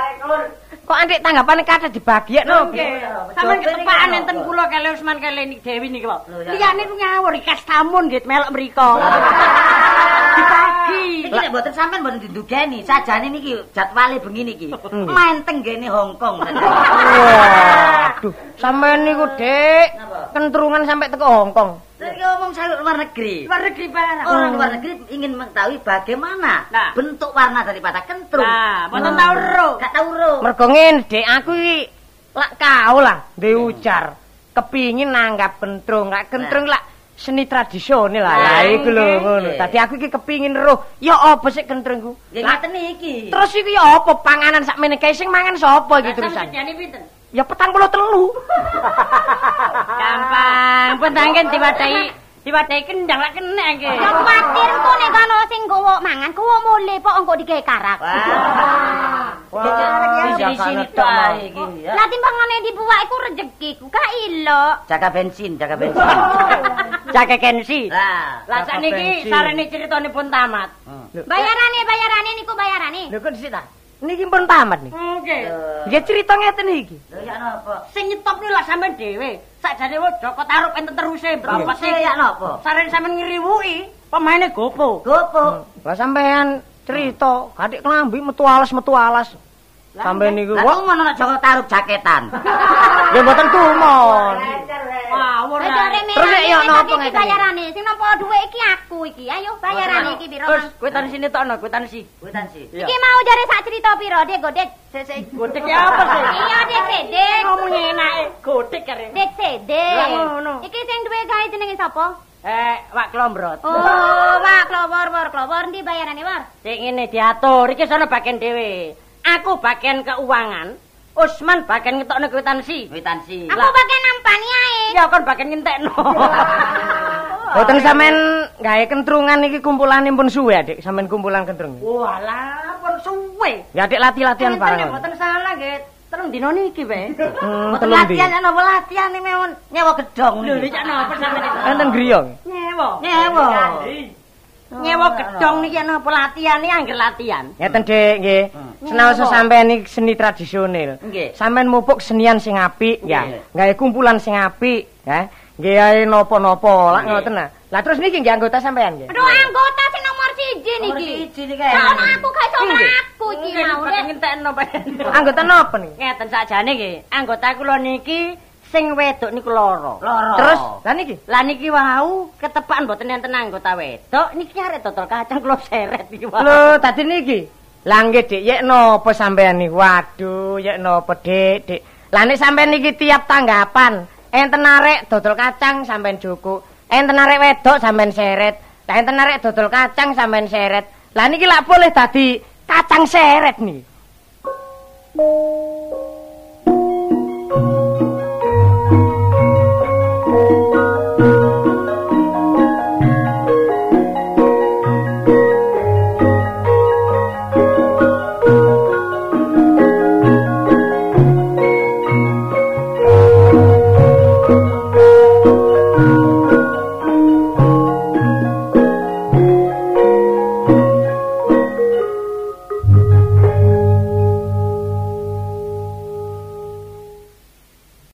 Speaker 5: Kok antik tanggapane kata dibagiakno.
Speaker 6: Nggih.
Speaker 1: Sampeyan ketepaan enten kula kali Usman kali Nik Dewi niki kok. Liyane ku ngawur ikas tamun nggih melok mriku. Dibagi.
Speaker 2: Iki nek mboten sampean mboten didugeni, sajane niki jadwale bengi niki.
Speaker 1: Hmm.
Speaker 2: Main tenggene Hong Kong.
Speaker 5: Waduh, sampean niku, Dik, kentrungan sampai teko Hongkong.
Speaker 2: Nek ngomong saya luar negeri.
Speaker 1: Luar negeri barang.
Speaker 2: Orang luar negeri ingin mengetahui bagaimana
Speaker 1: Nah.
Speaker 2: bentuk warna daripada kentrung.
Speaker 1: Nah,
Speaker 2: Hmm.
Speaker 1: mboten tau ro.
Speaker 2: Gak tau ro.
Speaker 5: Mergo ngene, Dik, aku iki lak kau lah, duwe ujar. Kepingin nanggap kentrung, lak kentrung lak seni tradisional lah. Lah iku lho ngono. Dadi aku iki kepingin roh, ya apa sih kentrungku?
Speaker 2: Ya ngaten iki.
Speaker 5: Terus iki ya apa panganan sakmene kae sing mangan sapa iki
Speaker 1: Sampeyan
Speaker 5: terusan?
Speaker 1: jane pinten?
Speaker 5: Ya petang puluh telu.
Speaker 1: Gampang, pentangken diwadahi diwadahi kendang lak kena nggih.
Speaker 4: Ya kuwatir engko nek kono sing nggowo mangan kuwo mule pok engko digawe karak.
Speaker 2: Wah.
Speaker 6: Iya,
Speaker 2: Di sini
Speaker 6: karetok,
Speaker 2: tok
Speaker 6: Mang.
Speaker 2: ae iki ya.
Speaker 4: Lah timbangane dibuak iku rezekiku gak ilok.
Speaker 2: Jaga bensin, jaga bensin.
Speaker 7: Cake kensi.
Speaker 2: Lah, Hmm.
Speaker 1: Lah sakniki sarene critane pun tamat.
Speaker 4: Bayarane bayarane niku bayarane.
Speaker 5: Lho kok dhisik ta? Niki pun tamat niki.
Speaker 1: Nggih.
Speaker 5: Ya cerita ngeten iki.
Speaker 2: lho ya napa?
Speaker 1: Sing nyetop niku lah sampean dhewe. Sakjane wis Joko taruh enten teruse berapa
Speaker 2: Apa sih ya napa?
Speaker 1: Sarene sampean ngriwuki pemaine gopo.
Speaker 2: Gopo.
Speaker 5: Lah sampean cerita, adik klambi metu alas metu alas. Sampean niku
Speaker 2: Lah
Speaker 5: wah,
Speaker 2: ngono nek Joko taruh jaketan.
Speaker 5: ya mboten kumon.
Speaker 1: Ngawur.
Speaker 4: Wis
Speaker 1: lah.
Speaker 4: ora
Speaker 5: Terus nek ya napa
Speaker 4: merane
Speaker 5: ngeten?
Speaker 4: bayarane. Sing nampa dhuwit iki aku iki. Ayo bayarane iki piro,
Speaker 1: Terus
Speaker 4: Mang?
Speaker 1: kuitan sini tokno, kuitan si.
Speaker 2: Kuitan sih.
Speaker 4: Iki mau jare sak cerita piro, Dek, go, Dek.
Speaker 1: Sik gotik ya apa sih?
Speaker 4: Iya, Dek, Dek, Dek.
Speaker 1: Ngomongnya enake gotik kare.
Speaker 4: Dek, Dek, Dek.
Speaker 1: Lah, ngono.
Speaker 4: Iki sing duwe gawe jenenge sapa?
Speaker 1: Eh, wak klombrot.
Speaker 4: Oh, wak klowor, wor, klowor ndi bayarane, Wor?
Speaker 1: Sing ngene diatur, iki sono bagian dhewe. Aku bagian keuangan, Usman bagian ngetokno kwitansi.
Speaker 2: Kuitan sih.
Speaker 4: Aku pakai nampani ae.
Speaker 1: Ya kon bagian ngentekno.
Speaker 5: Mboten sampean gawe kentrungan iki kumpulane pun suwe, Dik. Sampean kumpulan kentrung.
Speaker 1: Walah, pun Oh, suwe.
Speaker 5: Ya Dik latih-latihan
Speaker 1: Ngenteni
Speaker 5: bareng.
Speaker 1: mboten salah, nggih. Terus dino niki wae.
Speaker 5: Hmm,
Speaker 2: Mboten
Speaker 5: telung di.
Speaker 2: latihan ya napa latihan iki mewon nyewa gedhong
Speaker 1: Lho,
Speaker 2: niki.
Speaker 1: iki napa sampeyan?
Speaker 5: Enten griyong.
Speaker 1: Nyewa.
Speaker 2: Nyewa.
Speaker 1: Nyewa gedhong niki napa latihan iki angger latihan.
Speaker 5: Ngeten Dik, nggih. Senaosa sampean iki seni tradisional.
Speaker 2: Hmm. Nggih.
Speaker 5: Sampean mupuk senian sing apik, ya.
Speaker 2: Nggih.
Speaker 5: Gawe kumpulan sing apik, ya. Nggih ae napa-napa, lak ngoten nah. Lah terus niki nggih anggota sampean nggih.
Speaker 4: Aduh, anggota sing nomor 1 niki.
Speaker 2: Iki iki
Speaker 4: Gak ono
Speaker 2: kae.
Speaker 4: aku gak iso aku iki
Speaker 1: Nggih,
Speaker 4: mau.
Speaker 1: bagian ngentekno bagian.
Speaker 5: Anggota napa niki?
Speaker 1: Ngeten sakjane nggih, anggota kula niki sing wedok niku loro.
Speaker 2: Loro.
Speaker 5: Terus
Speaker 1: Oh.
Speaker 5: lah niki.
Speaker 1: Lah niki wau ketepakan mboten enten anggota wedok niki arek total kacang kula seret iki wau.
Speaker 5: Lho, tadi niki. Lah nggih Dik, yek napa sampean niki? Waduh, yek napa Dik, Dik. Lah nek sampean niki tiap tanggapan, enten arek dodol kacang sampean juku, enten arek wedok sampean seret, lah enten arek dodol kacang sampean seret. Lah niki lak boleh dadi kacang seret niki.
Speaker 2: Lho